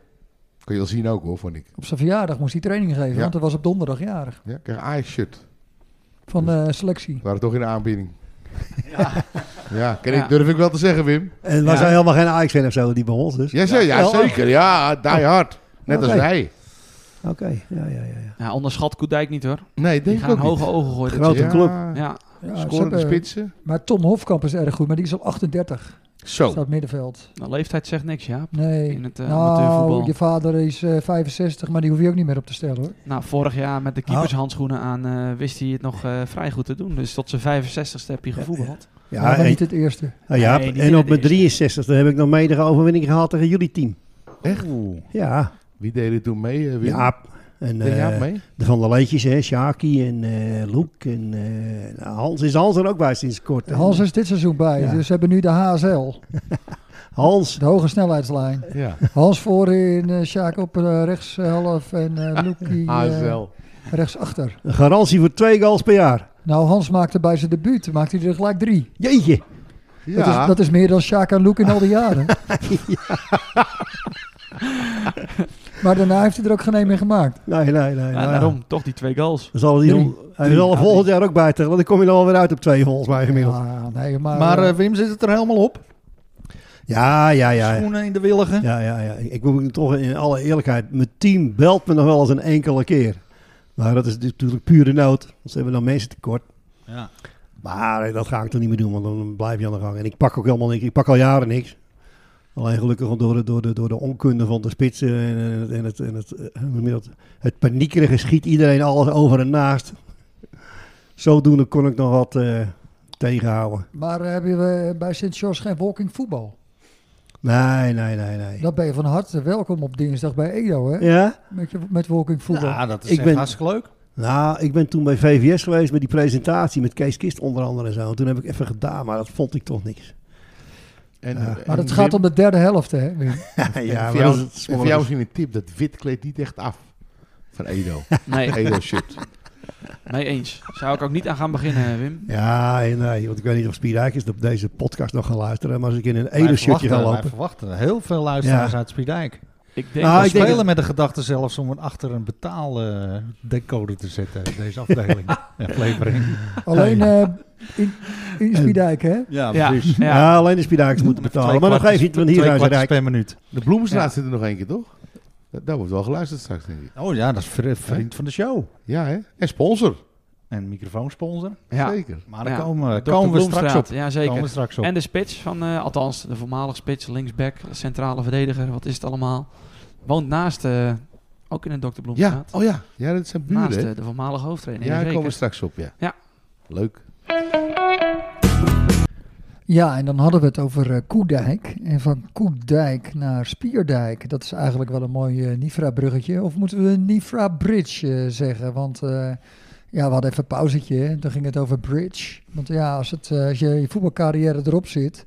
Kun je wel zien ook, hoor, vond ik. Op zijn verjaardag moest hij training geven, Ja. want hij was op donderdag jarig. Ja, krijg een Ajax-shirt. Van eh, selectie. We waren toch in de aanbieding. Ja, ken Ja. Ik, durf ik wel te zeggen, Wim. En was Ja. hij helemaal geen Ajax-fan of zo, die bij ons dus? Ja, ze- ja, Wel, zeker. Ja, die hard. Net als Oké. wij. Oké, ja, ja, ja. ja. Ja, onderschat Koedijk niet hoor. Nee, Die denk ik gaan ook niet. hoge ogen gooien. dit Grote jaar. club. Ja, Ja, ze Scoren de hebben- spitsen. maar Tom Hofkamp is erg goed, maar die is al 38. Zo. Staat middenveld. nou, leeftijd zegt niks, Jaap. Nee. In het eh, nou, amateurvoetbal. je vader is eh, 65, maar die hoef je ook niet meer op te stellen hoor. Nou, vorig jaar met de keepershandschoenen aan eh, wist hij het nog eh, vrij goed te doen. Dus tot zijn 65ste heb je gevoetbald. Ja, maar en, niet het eerste. nou ja, Nee, die en op deden mijn de 63 heb ik nog medige overwinning gehaald tegen jullie team. Echt? Ja, Wie deed er toen mee, eh, Wim? Jaap. En, Deed Jaap eh, mee? de Van der Leedjes, hè, Sjaki en eh Loek. En, eh, nou, Hans is Hans er ook bij sinds kort. hè? Eh, Hans is dit seizoen bij, Ja. dus ze hebben nu de HSL, Hans. de hoge snelheidslijn. Ja. Hans voorin, eh Sjaak op eh, rechts half en eh Loekie eh ASL. rechts achter. Een garantie voor twee goals per jaar. Nou, Hans maakte bij zijn debuut, maakte hij er gelijk drie. Jeetje. Dat, is, Ja. dat is meer dan Sjaak en Loek in al die jaren. Maar daarna heeft hij er ook geen één meer gemaakt. Nee, nee, nee. Ja, daarom toch die twee goals. Dan zal hij, Drie. al- hij zal er Ja, volgend jaar ook bij tellen. Dan kom je dan alweer uit op twee volgens mij gemiddeld. Ja, nee, maar, Maar eh, eh, Wim zit het er helemaal op. Ja, ja, ja. ja. Schoenen in de willigen. Ja, ja, ja. Ik moet toch in alle eerlijkheid, mijn team belt me nog wel eens een enkele keer. Maar dat is natuurlijk pure nood, want ze hebben dan mensen tekort. Ja. Maar eh, dat ga ik toch niet meer doen, want dan blijf je aan de gang. En ik pak ook helemaal niks. Ik pak al jaren niks. Alleen gelukkig door de, door de, door de onkunde van de spitsen en, eh, het- en, het, en het, eh, hoe noem je dat? het paniekerige schiet iedereen alles over en naast. Zodoende kon ik nog wat eh, tegenhouden. maar eh, hebben we bij Sint-George geen walking voetbal? Nee, nee, nee, nee. Dan ben je van harte welkom op dinsdag bij Edo, hè? Ja? Met, je, met walking voetbal. Ja, dat is Ik echt ben- hartstikke leuk. Nou, ik ben toen bij VVS geweest met die presentatie met Kees Kist onder andere en zo. En toen heb ik even gedaan, maar dat vond ik toch niks. En, Ja. maar het gaat om de derde helft, hè? Wim? ja, voor, maar jou, dat is en voor het jou smoorlijke- is hier een tip, dat wit kleedt niet echt af. Van Edo. Nee, Edo shirt. mee eens. Zou ik ook niet aan gaan beginnen, eh, Wim. Ja, en, nee, want ik weet niet of Spierijkers op deze podcast nog gaan luisteren. Maar als ik in een Edo-shirtje ga verwachten, lopen. verwachten heel veel luisteraars Ja. uit Spiedijk. Ik denk Nou, Ah, dat ik ik spelen denk dat- met de gedachte zelfs om het achter een betaaldecoder decoder te zetten. Deze afdeling. Aflevering. Alleen eh, in, in Spiedijk, hè? Ja, Ja. ja. alleen de Spierijkers moeten betalen. Maar dan geef je het, want hier Twee zijn ze kwartjes rijk. per minuut. De Bloemenstraat zit er nog één keer, toch? Dat, dat wordt wel geluisterd straks, denk ik. Oh ja, dat is vri- vriend van de show. Ja, hè? En sponsor. En microfoonsponsor. Ja. Zeker. Maar daar Ja. komen, Dr. komen we straks Bloemstraat, op. Ja, Komen we zeker. straks op. En de spits van, eh, althans, de voormalige spits, linksback, centrale verdediger, wat is het allemaal. Woont naast, eh, ook in de Dr. Ja, Bloemstraat. oh ja. Ja, dat zijn buren, naast hè? eh, de voormalige hoofdtrainer. Ja, daar zeker. komen we straks op, ja. Ja. Leuk. Ja, en dan hadden we het over eh, Koedijk. En van Koedijk naar Spierdijk. Dat is eigenlijk wel een mooi eh Nifra-bruggetje. Of moeten we Nifra-bridge eh, zeggen? Want eh, ja, we hadden even een pauzetje. hè. Dan ging het over bridge. Want ja, als, het, eh, als je, je voetbalcarrière erop zit...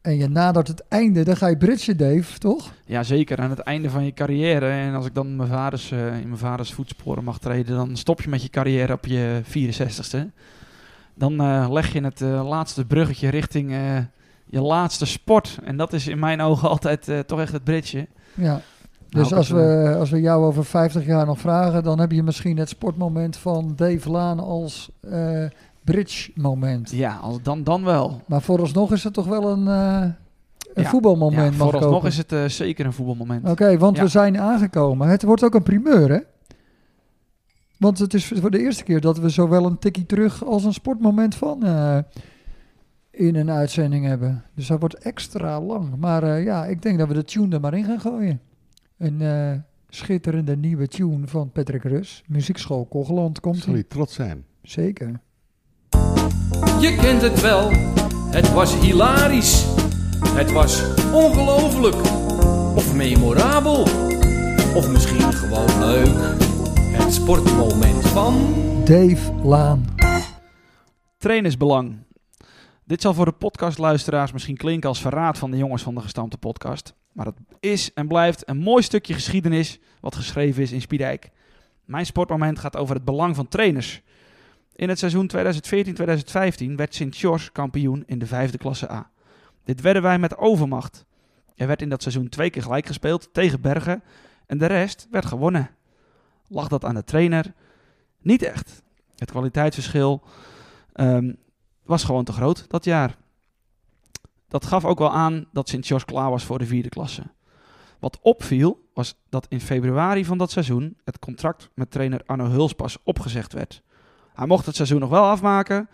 en je nadert het einde, dan ga je bridgen, Dave, toch? Ja, zeker. Aan het einde van je carrière. En als ik dan mijn vaders, eh, in mijn vaders voetsporen mag treden, dan stop je met je carrière op je 64ste. Dan eh, leg je het eh, laatste bruggetje richting eh, je laatste sport. En dat is in mijn ogen altijd eh, toch echt het bridge. Ja. Nou, Dus dat, als we, als we jou over 50 jaar nog vragen... dan heb je misschien het sportmoment van Dave Laan als eh, bridge-moment. Ja, als, dan, dan wel. Maar vooralsnog is het toch wel een, eh, een Ja, Ja, voetbalmoment, mag ik vooralsnog hopen. is het eh, zeker een voetbalmoment. Oké, want Ja. we zijn aangekomen. Het wordt ook een primeur, hè? Want het is voor de eerste keer dat we zowel een tikkie terug als een sportmoment van eh, in een uitzending hebben. Dus dat wordt extra lang. Maar eh, ja, ik denk dat we de tune er maar in gaan gooien. Een eh, schitterende nieuwe tune van Patrick Rus. Muziekschool Kogeland komt Zal er. je trots zijn. Zeker. Je kent het wel, het was hilarisch. Het was ongelooflijk. Of memorabel. Of misschien gewoon leuk. Het sportmoment van... Dave Laan. Trainersbelang. Dit zal voor de podcastluisteraars misschien klinken als verraad van de jongens van de gestampte podcast. Maar het is en blijft een mooi stukje geschiedenis wat geschreven is in Spiedijk. Mijn sportmoment gaat over het belang van trainers. In het seizoen 2014-2015 werd Sint-George kampioen in de vijfde klasse A. Dit werden wij met overmacht. Er werd in dat seizoen twee keer gelijk gespeeld tegen Bergen en de rest werd gewonnen. Lag dat aan de trainer? Niet echt. Het kwaliteitsverschil Ehm, was gewoon te groot dat jaar. Dat gaf ook wel aan dat Sint-George klaar was voor de vierde klasse. Wat opviel was dat in februari van dat seizoen het contract met trainer Arno Huls pas opgezegd werd. Hij mocht het seizoen nog wel afmaken,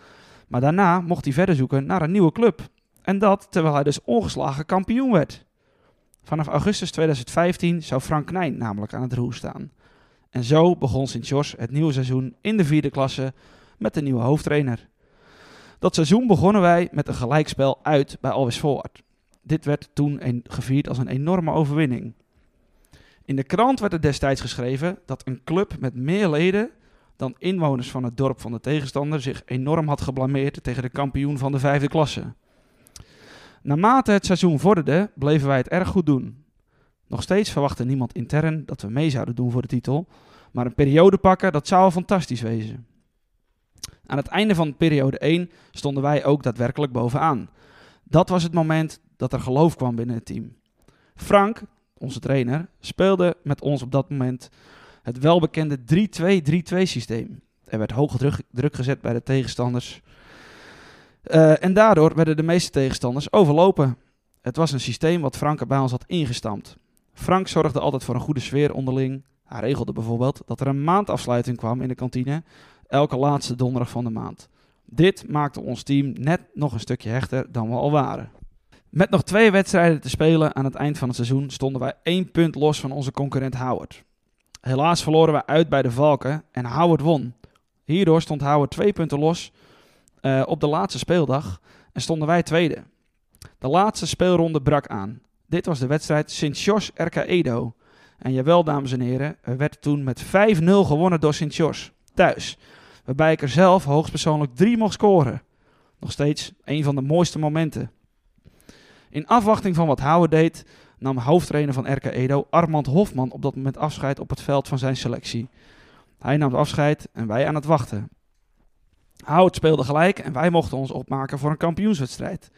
maar daarna mocht hij verder zoeken naar een nieuwe club. En dat terwijl hij dus ongeslagen kampioen werd. Vanaf augustus 2015 zou Frank Knijn namelijk aan het roer staan. En zo begon Sint-George het nieuwe seizoen in de vierde klasse met de nieuwe hoofdtrainer. Dat seizoen begonnen wij met een gelijkspel uit bij Always Forward. Dit werd toen een, gevierd als een enorme overwinning. In de krant werd er destijds geschreven dat een club met meer leden dan inwoners van het dorp van de tegenstander zich enorm had geblameerd tegen de kampioen van de vijfde klasse. Naarmate het seizoen vorderde, bleven wij het erg goed doen. Nog steeds verwachtte niemand intern dat we mee zouden doen voor de titel, maar een periode pakken, dat zou al fantastisch wezen. Aan het einde van periode 1 stonden wij ook daadwerkelijk bovenaan. Dat was het moment dat er geloof kwam binnen het team. Frank, onze trainer, speelde met ons op dat moment het welbekende 3-2-3-2 systeem. Er werd hoge druk, druk gezet bij de tegenstanders. Eh, en daardoor werden de meeste tegenstanders overlopen. Het was een systeem wat Frank er bij ons had ingestampt. Frank zorgde altijd voor een goede sfeer onderling. Hij regelde bijvoorbeeld dat er een maandafsluiting kwam in de kantine, elke laatste donderdag van de maand. Dit maakte ons team net nog een stukje hechter dan we al waren. Met nog twee wedstrijden te spelen aan het eind van het seizoen stonden wij één punt los van onze concurrent Howard. Helaas verloren wij uit bij de Valken en Howard won. Hierdoor stond Howard twee punten los eh, op de laatste speeldag en stonden wij tweede. De laatste speelronde brak aan. Dit was de wedstrijd Sint-Jos RK Edo. En jawel, dames en heren, er werd toen met 5-0 gewonnen door Sint-Jos, thuis. Waarbij ik er zelf hoogstpersoonlijk drie mocht scoren. Nog steeds een van de mooiste momenten. In afwachting van wat Houwe deed, nam hoofdtrainer van RK Edo, Armand Hofman, op dat moment afscheid op het veld van zijn selectie. Hij nam het afscheid en wij aan het wachten. Howard speelde gelijk en wij mochten ons opmaken voor een kampioenswedstrijd.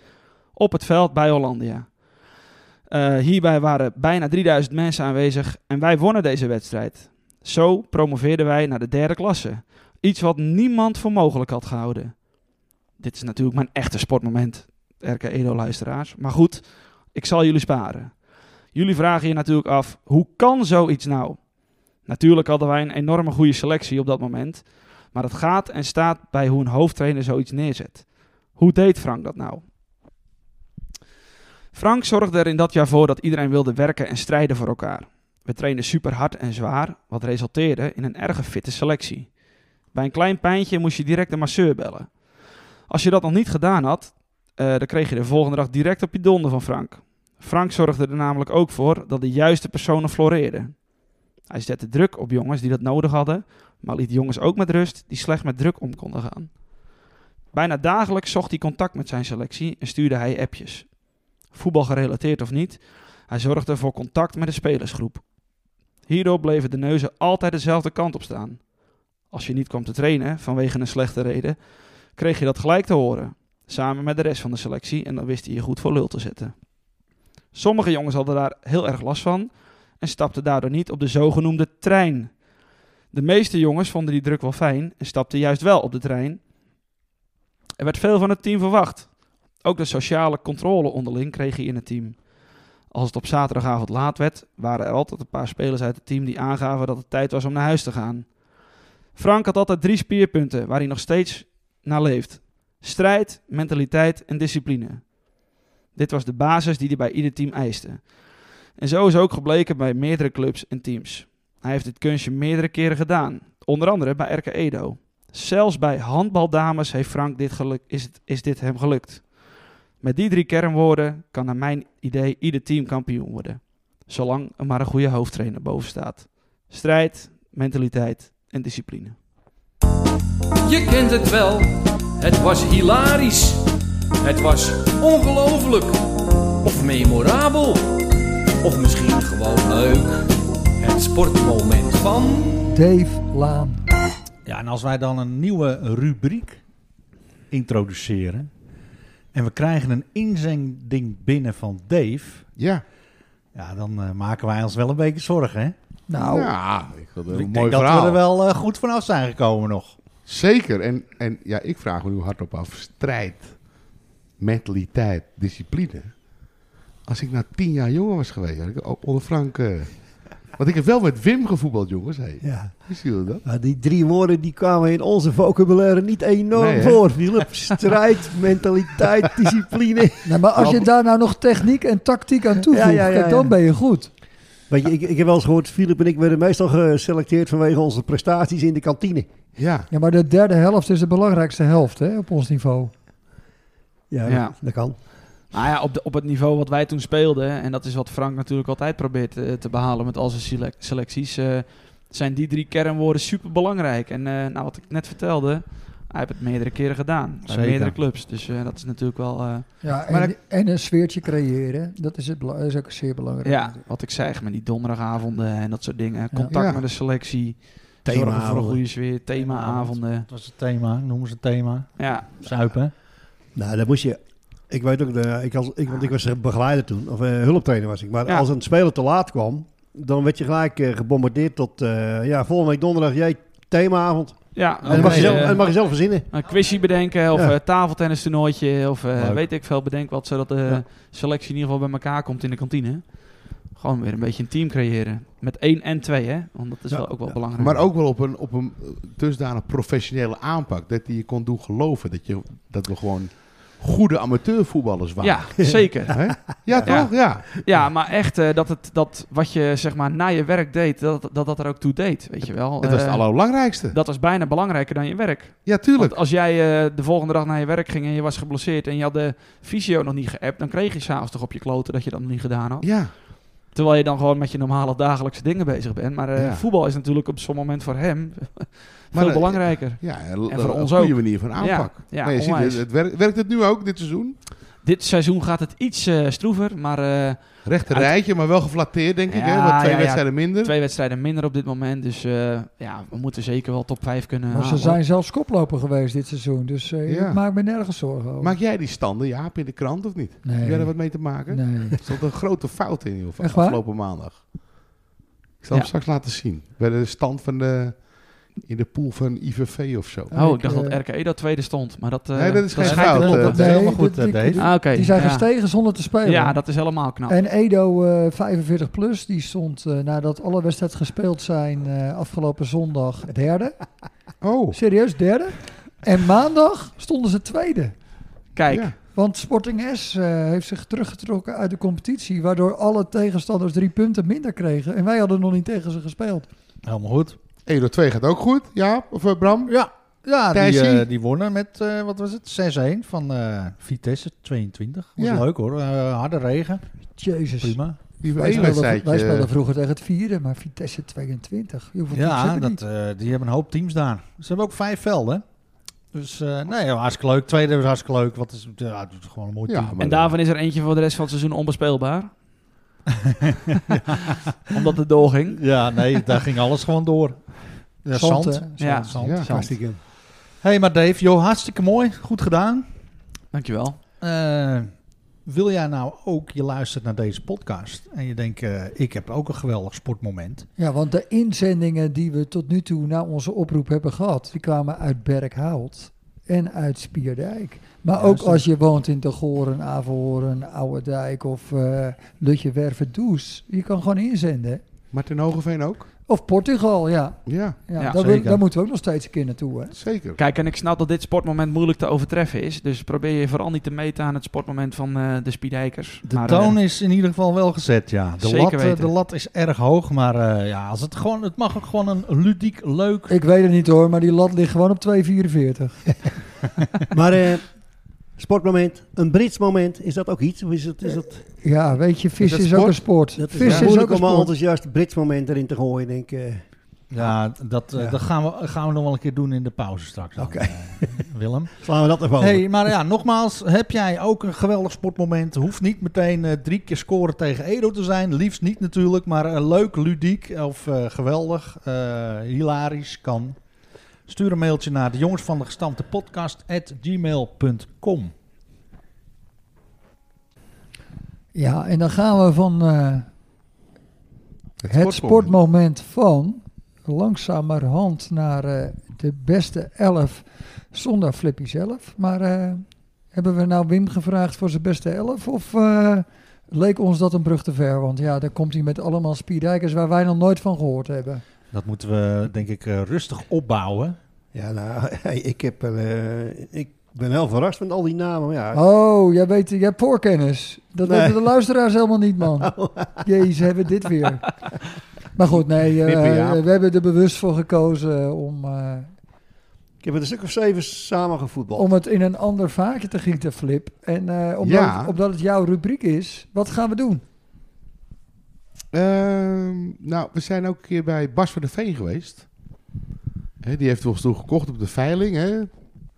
Op het veld bij Hollandia. Eh, hierbij waren bijna 3000 mensen aanwezig en wij wonnen deze wedstrijd. Zo promoveerden wij naar de derde klasse. Iets wat niemand voor mogelijk had gehouden. Dit is natuurlijk mijn echte sportmoment, RK Edo-luisteraars. Maar goed, ik zal jullie sparen. Jullie vragen je natuurlijk af, hoe kan zoiets nou? Natuurlijk hadden wij een enorme goede selectie op dat moment. Maar het gaat en staat bij hoe een hoofdtrainer zoiets neerzet. Hoe deed Frank dat nou? Frank zorgde er in dat jaar voor dat iedereen wilde werken en strijden voor elkaar. We trainden super hard en zwaar, wat resulteerde in een erg fitte selectie. Bij een klein pijntje moest je direct de masseur bellen. Als je dat nog niet gedaan had, eh, dan kreeg je de volgende dag direct op je donder van Frank. Frank zorgde er namelijk ook voor dat de juiste personen floreerden. Hij zette druk op jongens die dat nodig hadden, maar liet jongens ook met rust die slecht met druk om konden gaan. Bijna dagelijks zocht hij contact met zijn selectie en stuurde hij appjes voetbal gerelateerd of niet. Hij zorgde voor contact met de spelersgroep. Hierdoor bleven de neuzen altijd dezelfde kant op staan. Als je niet kwam te trainen vanwege een slechte reden, kreeg je dat gelijk te horen, samen met de rest van de selectie en dan wist hij je goed voor lul te zetten. Sommige jongens hadden daar heel erg last van en stapten daardoor niet op de zogenoemde trein. De meeste jongens vonden die druk wel fijn en stapten juist wel op de trein. Er werd veel van het team verwacht, ook de sociale controle onderling kreeg hij in het team. Als het op zaterdagavond laat werd, waren er altijd een paar spelers uit het team die aangaven dat het tijd was om naar huis te gaan. Frank had altijd drie spierpunten waar hij nog steeds naar leeft: strijd, mentaliteit en discipline. Dit was de basis die hij bij ieder team eiste. En zo is ook gebleken bij meerdere clubs en teams. Hij heeft dit kunstje meerdere keren gedaan, onder andere bij RK Edo. Zelfs bij handbaldames heeft Frank dit geluk, is, het, is dit hem gelukt. Met die drie kernwoorden kan naar mijn idee ieder team kampioen worden. Zolang er maar een goede hoofdtrainer boven staat. Strijd, mentaliteit en discipline. Je kent het wel, het was hilarisch. Het was ongelooflijk. Of memorabel. Of misschien gewoon leuk. Het sportmoment van. Dave Laan. Ja, en als wij dan een nieuwe rubriek introduceren. En we krijgen een inzending binnen van Dave. Ja. Ja, dan eh, maken wij ons wel een beetje zorgen, hè? Nou, Ja, ik vond het een ik mooi denk dat verhaal. we er wel eh, goed vanaf zijn gekomen nog. Zeker. En, en ja, ik vraag me nu hardop af. Strijd, mentaliteit, discipline. Als ik nou tien jaar jonger was geweest, had ik ook onder Frank... eh, want ik heb wel met Wim gevoetbald, jongens. Hey. Ja. Hoe zien jullie dat? die drie woorden die kwamen in onze vocabulaire niet enorm Nee, hè? voor, Philip. Strijd, mentaliteit, discipline. nou, maar als je Wel- daar nou nog techniek en tactiek aan toevoegt, Ja, ja, ja, kijk, dan ja. ben je goed. Weet je, ik, ik heb wel eens gehoord, Philip en ik werden meestal geselecteerd vanwege onze prestaties in de kantine. Ja. Ja, maar de derde helft is de belangrijkste helft hè, op ons niveau. Ja, Ja. Dat, dat kan. Nou ja, op, de, op het niveau wat wij toen speelden, en dat is wat Frank natuurlijk altijd probeert eh, te behalen met al zijn selec- selecties, eh, zijn die drie kernwoorden super belangrijk. En eh, nou, wat ik net vertelde, hij heeft het meerdere keren gedaan. Bij Zeker. meerdere clubs. Dus eh, dat is natuurlijk wel eh, Ja, en, Maar en een sfeertje creëren, dat is, het, bela- is ook zeer belangrijk. ja, wat ik zei, met die donderdagavonden en dat soort dingen. Contact Ja. met de selectie. Zorgen voor een Themaavonden. goede sfeer, themaavonden. Dat was het thema, noemen ze het thema. Ja, Zuipen. Nou, dan moest je Ik weet ook, de, ik als, ik, want ik was begeleider toen, of eh, hulptrainer was ik. Maar Ja. als een speler te laat kwam, dan werd je gelijk eh, gebombardeerd tot, eh, ja, volgende week donderdag, jij, themaavond. Oh, Ja, En dat mag, je eh, zelf, en dat mag je zelf verzinnen. een quizje bedenken of Ja. eh tafeltennis toernooitje of eh, Leuk. weet ik veel. Bedenk wat, zodat de Ja. selectie in ieder geval bij elkaar komt in de kantine. Gewoon weer een beetje een team creëren. Met één en twee, hè? Want dat is Ja, wel ook wel ja. belangrijk. Maar ook wel op een, op een eh, dusdanig professionele aanpak. Dat die je kon doen geloven. Dat, je, dat we gewoon goede amateurvoetballers waren. Ja, zeker. Hè? ja Ja. toch? Ja. Ja, maar echt eh, dat, het, dat wat je zeg maar na je werk deed, dat dat, dat er ook toe deed. Weet je wel. Dat was het Eh, allerbelangrijkste. dat was bijna belangrijker dan je werk. Ja, tuurlijk. Want als jij eh, de volgende dag naar je werk ging en je was geblesseerd en je had de fysio nog niet geappt, dan kreeg je s'avonds toch op je kloten dat je dat nog niet gedaan had. Ja. Terwijl je dan gewoon met je normale dagelijkse dingen bezig bent. Maar eh, Ja. voetbal is natuurlijk op zo'n moment voor hem Maar, veel eh, belangrijker. Ja, en voor een ons goede ook. manier van aanpak. Ja, ja, Maar je ziet, eh, onwijs. het, het werkt, werkt het nu ook dit seizoen? Dit seizoen gaat het iets eh, stroever, maar eh, Rechter Uit- rijtje, maar wel geflatteerd, denk ik. Hè? Ja, Want twee ja, ja. wedstrijden minder. twee wedstrijden minder op dit moment. Dus eh, ja, we moeten zeker wel top 5 kunnen Maar ze halen. zijn zelfs koploper geweest dit seizoen. Dus eh, Ja. ik maak me nergens zorgen over. Maak jij die standen, Jaap, in de krant of niet? nee. Heb jij er wat mee te maken? Oh, nee. Er stond een grote fout in, joh, van Echt waar? afgelopen maandag. Ik zal Ja. hem straks laten zien. Bij de stand van de... In de pool van IVV of zo. Oh, ik Ik, dacht eh, dat RKE dat tweede stond. Maar dat, eh, Nee, dat is geen schijnt te fout, kloppen. eh, Dat is helemaal Nee, goed, dit- eh, dit- Dave. Ah, oké. Die zijn ja. gestegen zonder te spelen. Ja, dat is helemaal knap. En Edo eh, 45 plus, die stond eh, nadat alle wedstrijden gespeeld zijn eh, afgelopen zondag derde. Oh, Serieus, derde. En maandag stonden ze tweede. Kijk, Ja. Want Sporting S eh, heeft zich teruggetrokken uit de competitie, waardoor alle tegenstanders drie punten minder kregen. En wij hadden nog niet tegen ze gespeeld. Helemaal goed. Edo 2 gaat ook goed, Jaap of eh, Bram. Ja, ja die, Thijsie? eh, die wonnen met, eh, wat was het, 6-1 van eh, Vitesse 22. Was Ja. leuk hoor, Eh, harde regen, Jezus. prima. Die Wij één speelden, wij wedstrijdje. speelden vroeger tegen het vierde, maar Vitesse 22. Hoeveel teams Ja, hebben die? dat, eh, die hebben een hoop teams daar. Ze hebben ook vijf velden. Dus eh, nee, ja, hartstikke leuk. Tweede was hartstikke leuk. Wat is, ja, het is gewoon een mooi Ja, team. maar- en daarvan is er eentje voor de rest van het seizoen onbespeelbaar. Omdat het doorging. Ja, nee, daar ging alles gewoon door. Ja, Zand, zand. hè? Ja. Zand, Ja. zand. Hartstikke. Hey, maar Dave, joh, hartstikke mooi. Goed gedaan. Dankjewel. Eh, wil jij nou ook, je luistert naar deze podcast en je denkt, eh, ik heb ook een geweldig sportmoment. Ja, want de inzendingen die we tot nu toe na onze oproep hebben gehad, die kwamen uit Berkhout en uit Spierdijk. Maar ook Juist. als je woont in De Goren, Averhoorn, Ouwendijk of eh Lutje Wervendoes, je kan gewoon inzenden. Martin Hogeveen ook. Of Portugal, ja. Ja, ja, Ja, daar, wil- zeker. daar moeten we ook nog steeds een keer naartoe. Hè? zeker. Kijk, en ik snap dat dit sportmoment moeilijk te overtreffen is. Dus probeer je vooral niet te meten aan het sportmoment van eh, de Spiedijkers. De Maar, toon eh, is in ieder geval wel gezet, ja. De, Zeker lat, eh, weten. de lat is erg hoog, maar eh, ja, als het, gewoon, het mag ook gewoon een ludiek, leuk... Ik weet het niet hoor, maar die lat ligt gewoon op 2,44. Maar eh, sportmoment, een Brits moment, is dat ook iets? Of is het, is dat, Ja, weet je, vis dat is, ook sport? een sport. dat Eh, vis is is ook moeilijk een om een sport. enthousiast Brits moment erin te gooien, denk ik. eh. Ja, dat, eh, Ja. dat gaan, we, gaan we nog wel een keer doen in de pauze straks. dan, Oké. eh, Willem. slaan we dat ervan? Hey, maar ja, nogmaals, heb jij ook een geweldig sportmoment? Hoeft niet meteen eh, drie keer scoren tegen Edo te zijn. Liefst niet natuurlijk, maar eh, leuk, ludiek of eh, geweldig, eh, hilarisch kan. Stuur een mailtje naar de jongens van de gestampte podcast at gmail.com. Ja, en dan gaan we van eh, Het, Het sportmoment van langzamerhand naar eh, de beste elf zonder Flippy zelf. Maar eh, hebben we nou Wim gevraagd voor zijn beste elf? Of eh, leek ons dat een brug te ver? Want ja, daar komt hij met allemaal spierdijkers waar wij nog nooit van gehoord hebben. Dat moeten we denk ik eh, rustig opbouwen. Ja, nou, hey, ik, heb, eh, ik ben heel verrast met al die namen. maar Ja, Oh, jij weet, jij hebt voorkennis. Dat Nee. weten de luisteraars helemaal niet, man. Jezus, hebben we dit weer. Maar goed, nee, eh, Knippen, Jaap. we hebben er bewust voor gekozen om... eh, Ik heb het een stuk of zeven samengevoetbald. om het in een ander vaatje te gieten, Flip. En eh, omdat, Ja. het, omdat het jouw rubriek is, wat gaan we doen? Ehm, nou, we zijn ook een keer bij Bas van de Veen geweest. Hè, die heeft ons toen gekocht op de veiling. Hè?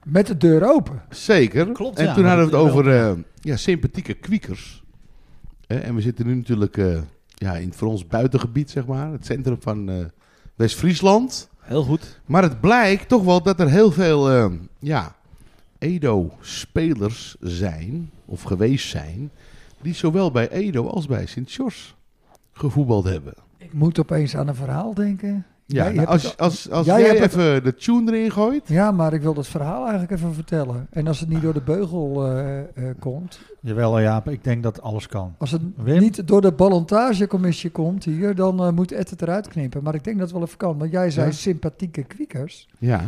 Met de deur open. Zeker. Klopt, en ja, toen hadden we het dat- over eh, ja, sympathieke kwiekers. Hè, en we zitten nu natuurlijk eh, ja, in het voor ons buitengebied, zeg maar. Het centrum van eh, West-Friesland. Heel goed. Maar het blijkt toch wel dat er heel veel eh, ja, Edo-spelers zijn. of geweest zijn, die zowel bij Edo als bij Sint-Jors gevoetbald hebben. Ik moet opeens aan een verhaal denken. Ja, Jij nou, hebt als, het- als, als jij jij, hebt het- even de tune erin gooit, Ja, maar ik wil dat verhaal eigenlijk even vertellen. En als het niet door de beugel eh, eh, komt, Jawel, Jaap, ik denk dat alles kan. als het Wim? niet door de ballantagecommissie komt hier, dan eh, moet Ed het eruit knippen. Maar ik denk dat het wel even kan, want jij zei Ja. sympathieke kwiekers. ja,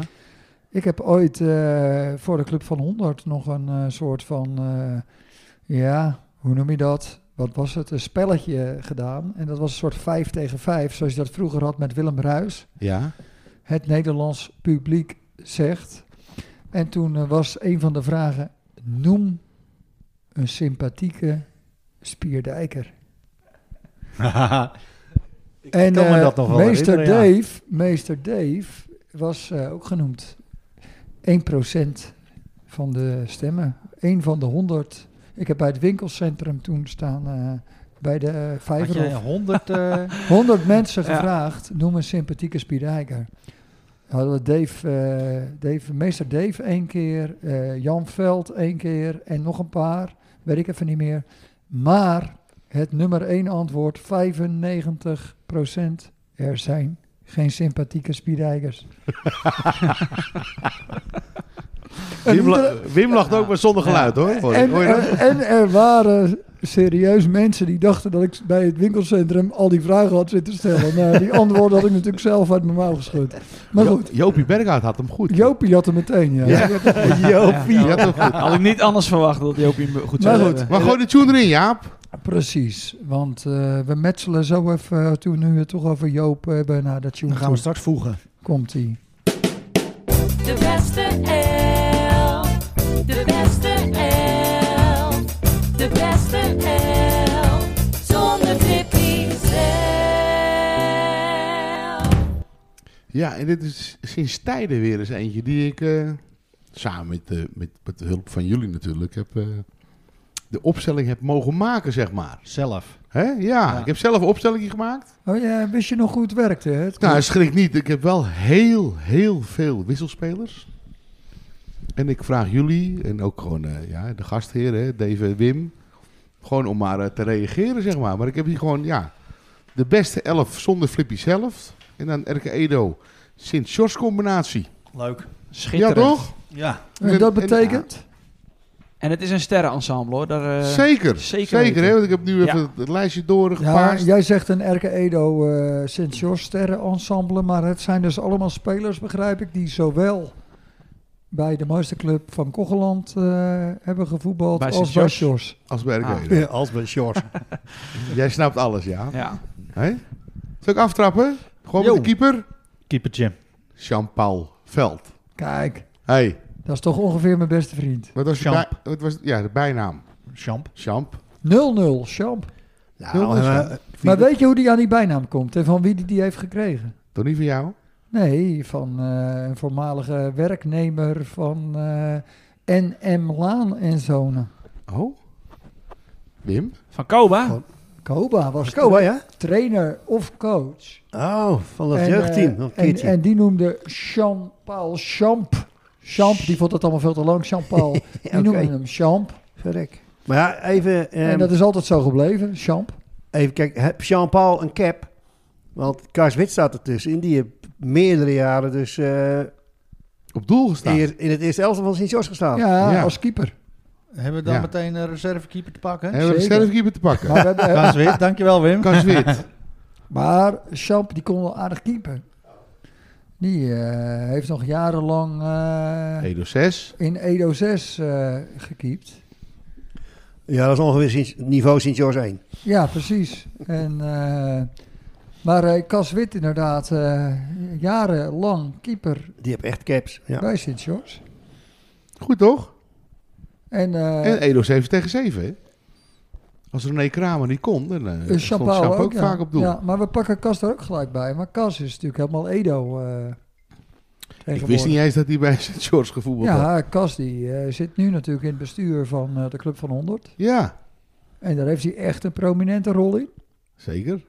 Ik heb ooit eh, voor de Club van 100 nog een eh, soort van, eh, ja, hoe noem je dat? Wat was het? Een spelletje gedaan. En dat was een soort 5 tegen 5, zoals je dat vroeger had met Willem Ruis ja, het Nederlands publiek zegt. En toen eh, was een van de vragen: noem een sympathieke spierdijker. en kan me eh, dat nog wel meester, herinneren, Dave, meester Dave was eh, ook genoemd. 1% van de stemmen. 1 van de 100. Ik heb bij het winkelcentrum toen staan eh, bij de eh, Had vijver. jij of- 100... eh, 100 mensen Ja. gevraagd, noem een sympathieke spierdijker. Hadden we Dave, eh, Dave, meester Dave één keer, eh, Jan Veld één keer en nog een paar, weet ik even niet meer. Maar het nummer één antwoord, 95 er zijn geen sympathieke spierdijkers. Een Wim, la- iedere- Wim lacht ook maar zonder geluid hoor. Hoor je- en, hoor je dat? en, en er waren serieus mensen die dachten dat ik bij het winkelcentrum al die vragen had zitten stellen. Nou, die antwoorden had ik natuurlijk zelf uit mijn mouw geschud. Maar Jo- goed, Jopie Berghout had hem goed. Jopie had er meteen, ja. Ja. Die Jopie. had hem goed. Had ik niet anders verwacht dat Jopie hem goed zou Maar goed. hebben. Maar gooi de tune erin, Jaap. Precies, want eh, we metselen zo even, eh, toen nu we het toch over Joop hebben, naar dat tune dan gaan we toe. straks voegen. komt-ie. De beste elf. De beste elf. De beste elf. Zonder Tippy zelf. Ja, en dit is sinds tijden weer eens eentje die ik eh, samen met, eh, met, met de hulp van jullie natuurlijk heb, eh, de opstelling heb mogen maken, zeg maar. Zelf. Hè? Ja, ik heb zelf een opstelling gemaakt. Oh ja, wist je nog hoe het werkte? hè? Het Nou, schrik niet. Ik heb wel heel, heel veel wisselspelers. En ik vraag jullie en ook gewoon eh, ja, de gastheren, hè, Dave en Wim, gewoon om maar eh, te reageren, zeg maar. Maar ik heb hier gewoon, ja, de beste elf zonder Flippy zelf. En dan Erke Edo, Sint-George combinatie. Leuk. Ja, Schitterend. toch? Ja. en dat betekent? En het is een sterrenensemble hoor. Daar, eh, zeker, zeker zeker, weten. hè? Want ik heb nu even Ja. het, het lijstje Ja, doorgepaard. jij zegt een Erke Edo eh sint george sterrenensemble, maar het zijn dus allemaal spelers, begrijp ik, die zowel bij de Masterclub van Kocheland eh, hebben gevoetbald Bij als Sint bij George. Sjors. Als bij Erke Ah. Edo. Ja, als bij Shores. Jij snapt alles, ja. Ja. Hè? Zal ik aftrappen? Gewoon Jo. met de keeper? Keepertje. Jean-Paul Veld. Kijk, hey, dat is toch ongeveer mijn beste vriend. 0-0, wat was, je Champ. bij- wat was ja, de bijnaam? Champ. Champ. Champ. Nou, Jongens, eh, Maar weet je hoe die aan die bijnaam komt en van wie die die heeft gekregen? Toch niet van jou? Nee, van eh, een voormalige werknemer van eh, NM Laan en Zonen. Oh? Wim? Van Koba. Koba was was Koba, ja? trainer of coach. Oh, van dat En, jeugdteam. eh, nog een en, keertje. en die noemde Jean-Paul Champ. Champ, die vond dat allemaal veel te lang. Jean-Paul, die Oké. noemde hem Champ. Verrek. Maar ja, even, ehm, en dat is altijd zo gebleven, Champ. even kijken. Heb Jean-Paul een cap? Want Kars Wit staat ertussen. In die heeft meerdere jaren dus eh, Op doel gestaan. eer- in het eerste elftal van Sint-Jos gestaan. Ja, ja. als keeper. Hebben we dan Ja. meteen een reservekeeper te pakken? Hebben we de zeker. sterrenkeeper te pakken? Maar, we hebben- eh, Kaas wit, dankjewel Wim. Kas wit. maar Champ, die kon wel aardig keeper. Die eh, heeft nog jarenlang eh, Edo 6. in Edo 6 eh gekiept. Ja, dat is ongeveer Sint- niveau Sint-Jos 1. Ja, precies. En, eh, maar eh Cas Wit inderdaad, eh, jarenlang keeper Die heeft echt caps. Ja. bij Sint-George. Goed toch? En, eh, En Edo 7 tegen 7. hè? Als René Kramer niet kon, dan eh, Eh, stond Champagne Champ ook, ja. vaak op doel. Ja, maar we pakken Cas er ook gelijk bij. Maar Cas is natuurlijk helemaal Edo. eh, Ik tegenwoordig. wist niet eens dat hij bij Sint-George gevoetbald had. Ja, Cas die eh, zit nu natuurlijk in het bestuur van eh, de Club van 100. Ja, En daar heeft hij echt een prominente rol in. zeker.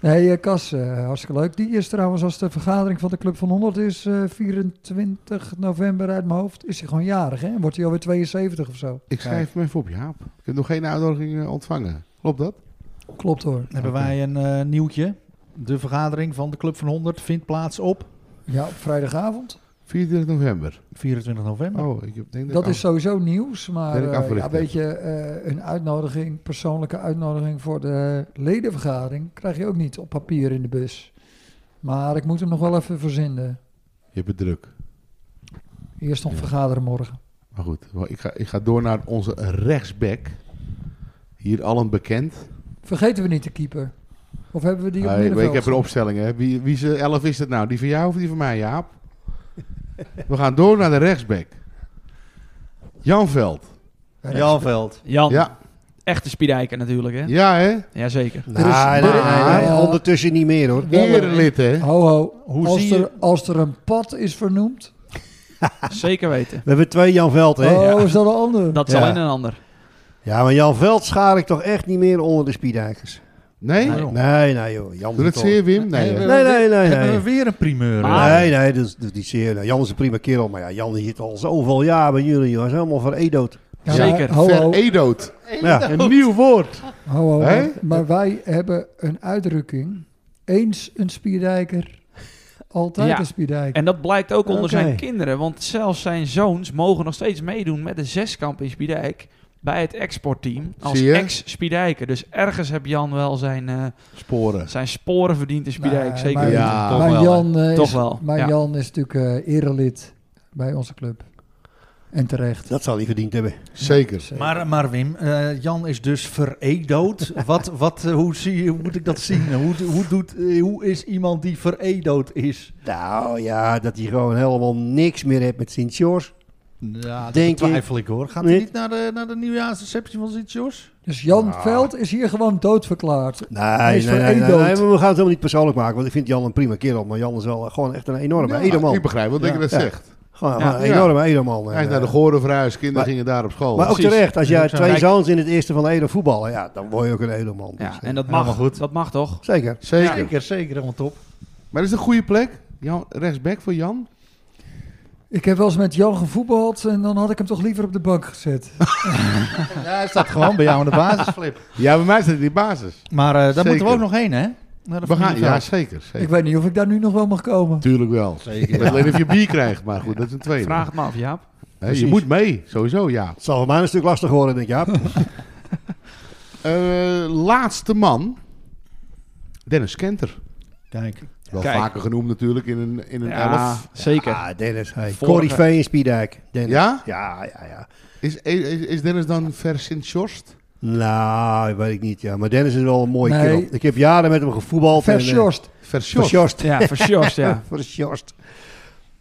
Nee, eh, Cas, eh, hartstikke leuk. Die is trouwens, als de vergadering van de Club van 100 is, eh, 24 november uit mijn hoofd, is hij gewoon jarig, hè? Wordt hij alweer 72 of zo? Ik schrijf me even op, Jaap. Ik heb nog geen uitnodiging eh, ontvangen. Klopt dat? Klopt hoor. Hebben wij een eh, nieuwtje. De vergadering van de Club van 100 vindt plaats op Ja, op vrijdagavond. 24 november. 24 november. Oh, ik heb- denk dat... Dat ik is sowieso nieuws, maar Ben ik eh, afgericht ja, heb. weet je, eh, een uitnodiging, persoonlijke uitnodiging voor de ledenvergadering krijg je ook niet op papier in de bus. Maar ik moet hem nog wel even verzinnen. al- Je hebt het druk. Eerst nog Ja. vergaderen morgen. Maar goed, wel, ik ga, ik ga door naar onze rechtsback. Hier allen bekend. Vergeten we niet de keeper? Of hebben we die op Ah, ik, middenveld? ik heb een opstelling, hè. Wie, wie ze elf is het nou? Die van jou of die van mij, Jaap? We gaan door naar de rechtsback. Jan Veld. Janveld. Jan, Ja, echte Spiedijker natuurlijk, hè? ja hè? Jazeker. Nee, nee, nee, nee, nee. ondertussen niet meer hoor. Wel een- Erelid, hè? Ho, ho. Hoe als, zie er, je- als er een pad is vernoemd. Zeker weten. We hebben twee Jan Veld, hè? Oh, Ja. is dat een ander? Dat is Ja. alleen een ander. Ja, maar Jan Veld schaar ik toch echt niet meer onder de spiedijkers. Nee? Nee. Nee, nee joh. Jan Doe het toch- zeer, Wim? Nee, Nee, hè? we- Nee, nee, nee. Hebben nee. we weer een Ah. primeur. Maar- hè? Nee, nee, dus, dus die zeer. nou, Jan is een prima kerel, maar ja, Jan die zit al zoveel jaar bij jullie, joh. Hij is helemaal veredeld. Ja, Zeker. maar Ho, ho. Veredood. Ja. Een nieuw woord. ho, ho. Hè? Maar wij hebben een uitdrukking. Eens een spierdijker, altijd Ja. een spierdijker. En dat blijkt ook onder Oké. zijn kinderen, want zelfs zijn zoons mogen nog steeds meedoen met de zeskamp in Spiedijk bij het exportteam als Zie je? ex-Spiedijker. Dus ergens heb Jan wel zijn, eh, Sporen. zijn sporen verdiend in Spiedijk, Nee, zeker. maar- weten. Ja, maar toch wel, Jan, eh, is, Toch wel, maar ja. Jan is natuurlijk eh erelid bij onze club. En terecht. Dat zal hij verdiend hebben. Zeker. Maar, maar Wim, eh, Jan is dus veredood. wat, wat, eh, hoe, zie, je- hoe moet ik dat zien? Hoe, hoe, doet, eh, hoe is iemand die veredood is? Nou ja, dat hij gewoon helemaal niks meer heeft met Sint-Joors. Ja, dat Denk betwijfel ik hoor. Gaat hij Niet? niet naar de, naar de nieuwjaarsreceptie van Sint-Jos? Dus Jan Ah. Veld is hier gewoon doodverklaard. Nee, Hij nee, is nee, van nee, nee, Edo. maar we gaan het helemaal niet persoonlijk maken, want ik vind Jan een prima kerel. Maar Jan is wel eh, gewoon echt een enorme Ja, edelman. Ik begrijp wel dat je dat Ja. zegt. Gewoon, Ja. gewoon een enorme edelman. Hij is En, naar de eh, Goren verhuisd. Kinderen maar- gingen daar op school. maar ook Precies. terecht, als jij Kijk. twee zoons in het eerste van de edel voetballen, ja, dan word je ook een edelman. Dus, Ja, eh, en dat Helemaal mag, goed. dat mag toch? Zeker. Zeker. Zeker, zeker, helemaal top. Maar is het een goede plek? Jan, rechtsback voor Jan? Ik heb wel eens met Jan gevoetbald en dan had ik hem toch liever op de bank gezet. Ja, hij staat gewoon bij jou aan de basisflip. Ja, bij mij staat hij in de basis. Maar eh, daar Zeker. moeten we ook nog heen, hè? Naar de We gaan, ja, familieveld. zeker. zeker. Ik weet niet of ik daar nu nog wel mag komen. Tuurlijk wel. Ik weet alleen of je bier krijgt, maar goed, dat is een tweede. Vraag het maar af, Jaap. Hè, je moet mee, sowieso, ja. Het zal voor mij een stuk lastig worden, denk ik. Ja. Eh, laatste man, Dennis Kenter. Kijk, Wel Kijk. vaker genoemd natuurlijk in een, in een Ja, elf. zeker. Ah, Dennis. Hey. Vorige- Corrie Vee in Spiedijk. Dennis. Ja? Ja, ja, ja. Is, is, is Dennis dan vers Sint-Jorst? Nou, weet ik niet. Ja. Maar Dennis is wel een mooie Nee. kerel. Ik heb jaren met hem gevoetbald. en, eh, Verschorst. Vers Sjost. Verschorst. Ja, versjost, ja. Verschorst.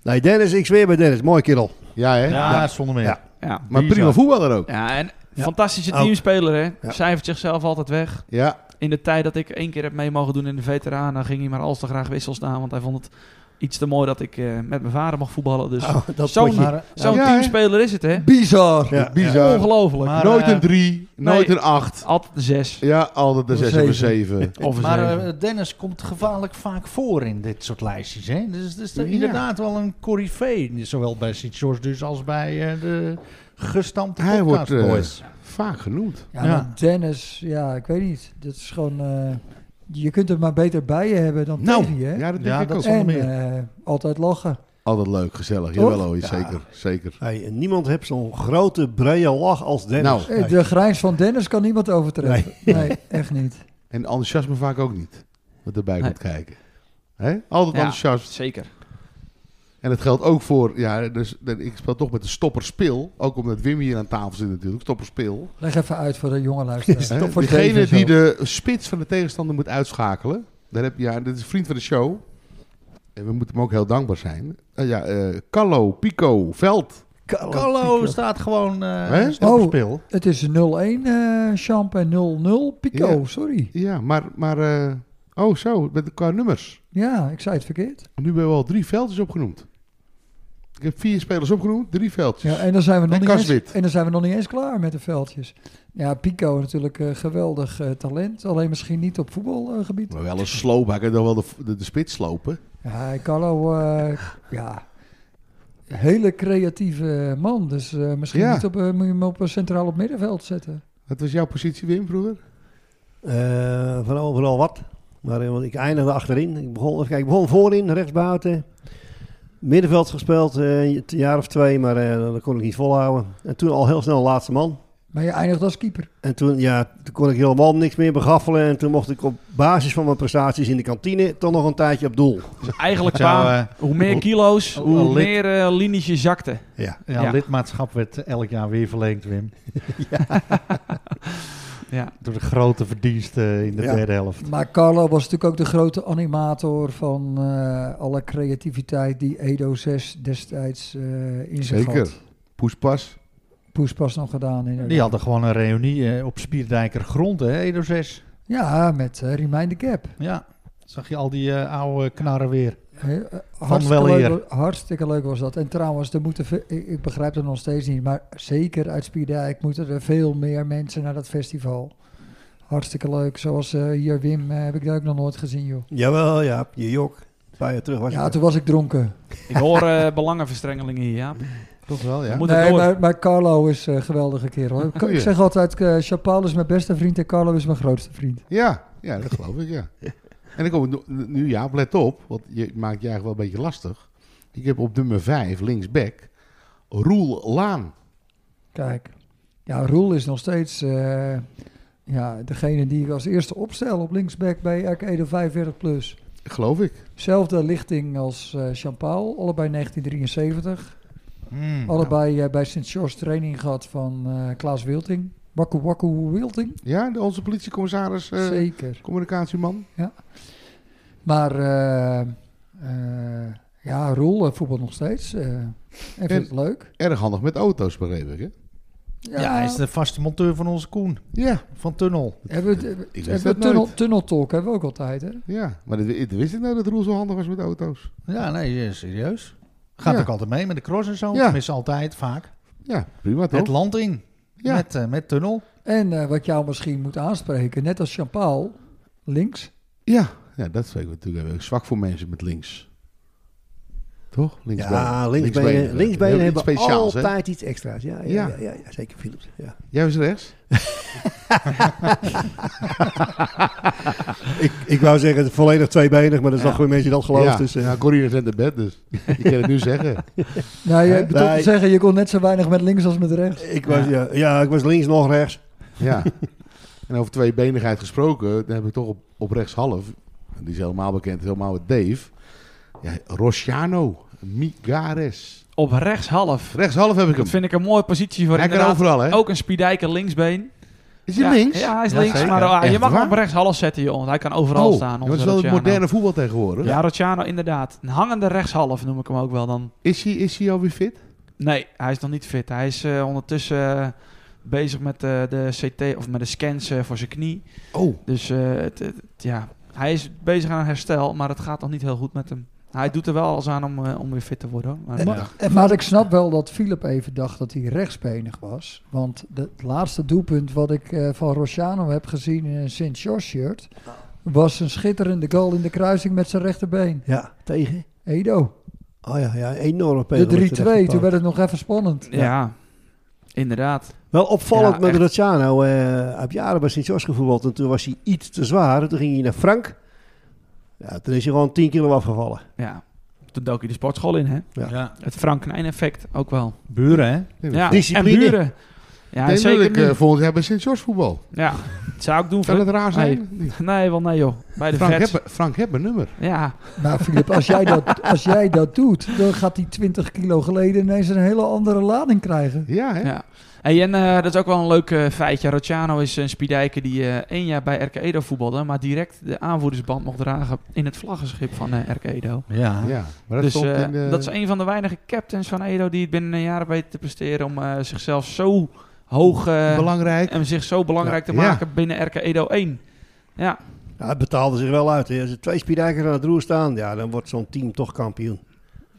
Nee, Dennis, ik zweer bij Dennis. Mooi kerel. Ja, hè? ja, Ja. zonder meer. Ja. ja. Maar Bizar. prima voetballer ook. Ja, en Ja. fantastische Ook. teamspeler, hè. Ja. Cijfert zichzelf altijd weg. Ja, In de tijd dat ik één keer heb mee mogen doen in de veteranen, ging hij maar al te graag wissels staan. Want hij vond het iets te mooi dat ik eh, met mijn vader mag voetballen. Dus Oh, dat zo'n potje. Maar, zo'n Ja, hè? teamspeler is het, hè? Bizar. Ja. bizar. Ongelooflijk. Maar, nooit eh, een 3, nooit een 8. Altijd een zes. Ja, altijd een Of 6 of een zeven. 7. Of een maar zeven. eh, Dennis komt gevaarlijk vaak voor in dit soort lijstjes. Hè? Dus het is Ja. inderdaad wel een corifee. Zowel bij Sint-George dus als bij eh, de gestampte Hij wordt, eh, podcast boys. Vaak genoemd. Ja, Ja. maar Dennis, ja, ik weet niet. Dat is gewoon... eh, je kunt het maar beter bij je hebben dan tegen je. hè? Nou, ja, dat denk Ja, ik dat ook. is- zonder en meer. eh, altijd lachen. Altijd leuk, gezellig. Toch? Jawel, hoor, zeker. zeker. Hey, en niemand heeft zo'n grote, brede lach als Dennis. Nou. Eh, De grijns van Dennis kan niemand overtreffen. nee echt niet. En enthousiasme vaak ook niet. Wat erbij Nee. komt kijken. Hè? Altijd Ja. enthousiast. Zeker. En dat geldt ook voor... Ja, dus, ik speel toch met de stopperspil. Ook omdat Wim hier aan tafel zit natuurlijk. Stopperspil. Leg even uit voor de jonge luisteraars. Hè? Toch voor Diegene Dave en die zo. de spits van de tegenstander moet uitschakelen. Daar heb, je- ja, dit is een vriend van de show. En we moeten hem ook heel dankbaar zijn. Eh, ja, eh Callo, Pico, Veld. Carlo staat gewoon eh Hè? oh. op speel. Het is 0-1 eh Champ en 0-0 Pico, Ja. sorry. Ja, maar... maar eh, oh, zo. Met, qua nummers. Ja, ik zei het verkeerd. Nu hebben we al drie veldjes opgenoemd. Ik heb vier spelers opgenoemd, drie veldjes. Ja, en, dan zijn we nog En niet eens, Kaswit. en dan zijn we nog niet eens klaar met de veldjes. Ja, Pico natuurlijk eh, geweldig eh, talent. Alleen misschien niet op voetbalgebied. Maar wel een sloop. Hij kan toch wel de, de, de spits slopen. ja, Carlo, eh, ja, hele creatieve man. Dus eh, misschien Ja. niet op, eh, moet je hem op eh, centraal op middenveld zetten. Wat was jouw positie, Wim, vroeger? Eh, van overal wat. Maar eh, want ik eindigde achterin. Ik begon, even kijken, ik begon voorin, rechtsbuiten. Middenveld gespeeld, eh, een jaar of twee, maar eh, dat kon ik niet volhouden. En toen al heel snel laatste man. Maar je eindigt als keeper. En toen, ja, toen kon ik helemaal niks meer begaffelen. En toen mocht ik op basis van mijn prestaties in de kantine toch nog een tijdje op doel. Dus eigenlijk, Zou, eh, pa, hoe meer kilo's, eh, oh, hoe oh, lid- meer eh, linies je zakte. Ja, Ja. lidmaatschap werd eh, elk jaar weer verlengd, Wim. Ja. Door de grote verdiensten in de Ja. derde helft. Maar Carlo was natuurlijk ook de grote animator van eh, alle creativiteit die Edo 6 destijds eh in zich Zeker. had. Poespas. Poespas nog gedaan. Inderdaad. Die hadden gewoon een reunie eh, op Spierdijker grond, hè, Edo 6. Ja, met eh, Remind the Gap. Ja, zag je al die eh, oude knarren weer. Heel- eh, wel hartstikke, leuk, eer. wa- hartstikke leuk was dat. En trouwens, er moeten ve- ik, ik begrijp het nog steeds niet, maar zeker uit Spierdijk moeten er veel meer mensen naar dat festival. Hartstikke leuk. Zoals eh, hier Wim eh, heb ik daar ook nog nooit gezien, joh. Jawel, ja, je jok. Een paar jaar terug was Ja, ik toen was ik dronken. Ik hoor eh, belangenverstrengelingen hier, ja. Toch wel, ja. Moet het Nee, door. maar, maar Carlo is eh, een geweldige kerel. Ik, ik Goeie. zeg altijd, eh, Chapal is mijn beste vriend en Carlo is mijn grootste vriend. Ja, ja dat geloof ik, ja. En dan kom ik no- nu, ja, let op, want je maakt je eigenlijk wel een beetje lastig. Ik heb op nummer 5, linksback, Roel Laan. Kijk, ja, Roel is nog steeds eh, ja, degene die ik als eerste opstel op linksback bij Arcade 45+. Plus. Geloof ik. Zelfde lichting als eh Champaal, allebei 1973. Hm, Oh, nou. allebei eh, bij St. George training gehad van eh, Klaas Wilting. Wakku Wakku Wilting, Ja, de- onze politiecommissaris, eh, zeker. communicatieman. Maar eh, eh, ja, Roel eh, voetbal nog steeds. eh, en vindt het leuk. Erg handig met auto's, begreep ik, hè? Ja, hij is de vaste monteur van onze Koen, Ja, van Tunnel. Hebben we, het- wist hebben dat we tunnel, nooit. tunnel talk hebben we ook altijd, hè? ja. Maar dat, dat wist ik nou dat Roel zo handig was met auto's. Ja, nee, eh, serieus. Gaat Ja. ook altijd mee met de cross en zo. Ja. Tenminste, altijd, vaak. Ja, prima toch? Het land in, Ja. met, eh, met Tunnel. En eh, wat jou misschien moet aanspreken, net als Champaal, links. Ja. ja, dat vind ik natuurlijk wel zwak voor mensen met links. Toch? Linksbenen. Ja, linksbenen, linksbenen Heel hebben iets speciaals, hè? altijd iets extra's. Ja, ja, Ja. ja. ja, ja, zeker Philips. Ja. Jij was rechts? Ik, ik wou zeggen volledig tweebenig, maar dat is nog Ja. weer mensen die dat geloven. ja. Dus, eh, ja, Corrie is net in bed, dus ik kan het nu zeggen. Nou, je Hè? bedoelt te Nee. zeggen, je kon net zo weinig met links als met rechts. ik was, ja. ja, ik was links nog rechts. Ja. En over tweebenigheid gesproken, dan heb ik toch op, op rechts half, en die is helemaal bekend, helemaal met Dave, ja, Rosciano Migares. Op rechts half. Rechts half heb ik hem. Dat vind ik een mooie positie voor Hij kan inderdaad overal, hè? ook een spiedijker linksbeen. Is hij ja, links? Ja, hij is Ja, links. zeker. Maar ah, je Echt mag waar? hem op rechts half zetten, joh. Want hij kan overal Oh, staan. ja, maar het onze is wel het Rociano. moderne voetbal tegenwoordig. nou- Ja, Rociano, inderdaad. Een hangende rechtshalf noem ik hem ook wel dan. Is, hij, is hij alweer fit? Nee, hij is nog niet fit. Hij is eh, ondertussen eh, bezig met eh, de CT of met de scans eh, voor zijn knie. Oh, Dus eh, het- het- ja, hij is bezig aan herstel, maar het gaat nog niet heel goed met hem. Hij doet er wel alles aan om, eh, om weer fit te worden. hoor. Maar, Maar, maar ik snap wel dat Philip even dacht dat hij rechtsbenig was. Want de- het laatste doelpunt wat ik eh, van Rociano heb gezien in een St. George shirt... was een schitterende goal in de kruising met zijn rechterbeen. Ja, tegen. Edo, Oh ja, ja enorme de 3-2. pegel. met rechterpoot. Toen werd het nog even spannend. ja. inderdaad. Wel opvallend Ja, met echt. Rociano. eh heb jaren bij Sint-Jos gevoetbald en toen was hij iets te zwaar. Toen ging hij naar Frank. Ja, toen is hij gewoon 10 kilo afgevallen. Ja. Toen dook hij de sportschool in, hè? Ja. Het Frank Knijn effect ook wel. Buren, hè? Ja, Discipline. En buren. Ja, ik denk dat zeker ik nu. eh, volgend jaar bij Sint-George voetbal. Ja, dat zou ik doen. Kan Frank. het raar zijn? Nee, wel nee joh. Bij de Frank, vets. heb, Frank heb mijn nummer. Ja, Maar Nou, Filip, als jij, dat, als jij dat doet, dan gaat die 20 kilo geleden ineens een hele andere lading krijgen. Ja, hè? Ja. Hey, en eh, dat is ook wel een leuk eh, feitje. Rociano is een spiedijker die eh, één jaar bij RK Edo voetbalde, maar direct de aanvoerdersband mocht dragen in het vlaggenschip van eh RK Edo. Ja. Ja, maar dat dus stond eh, in de... dat is een van de weinige captains van Edo die het binnen een jaar weet te presteren om eh, zichzelf zo hoog eh, belangrijk. en zich zo belangrijk Ja, te ja. maken binnen RK Edo 1. Ja, Ja, het betaalde zich wel uit. Hè. Als er twee spiedijkers aan het roer staan, ja, dan wordt zo'n team toch kampioen.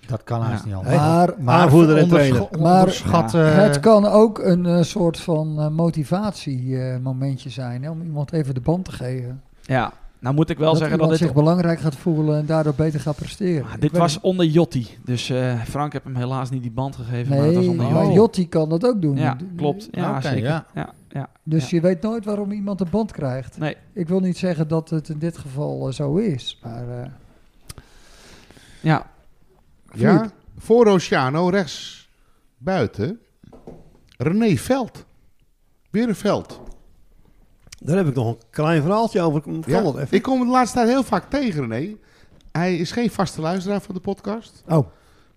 Dat kan haast Ja. niet anders. Maar Maar Aanvoerder en onderscha- trainer. Maar onderschat, eh, het kan ook een eh, soort van motivatiemomentje zijn. Hè, om iemand even de band te geven. Ja, nou moet ik wel zeggen dat iemand dit... zich belangrijk gaat voelen en daardoor beter gaat presteren. Ah, Ik dit weet was het. onder Jotti. Dus eh, Frank heeft hem helaas niet die band gegeven, maar het was Nee, oh, onder maar Jotti. Jotti kan dat ook doen. Ja, klopt. Ja, Oké, zeker. ja. Ja, ja. Dus je weet nooit waarom iemand de band krijgt. Nee. Ik wil niet zeggen dat het in dit geval eh, zo is. Maar eh, ja. eh, Ja, voor Oceano, rechts buiten. René Veld. Weer een veld. Daar heb ik nog een klein verhaaltje over. Kan Ja. dat even? Ik kom hem de laatste tijd heel vaak tegen, René. Hij is geen vaste luisteraar van de podcast. Oh,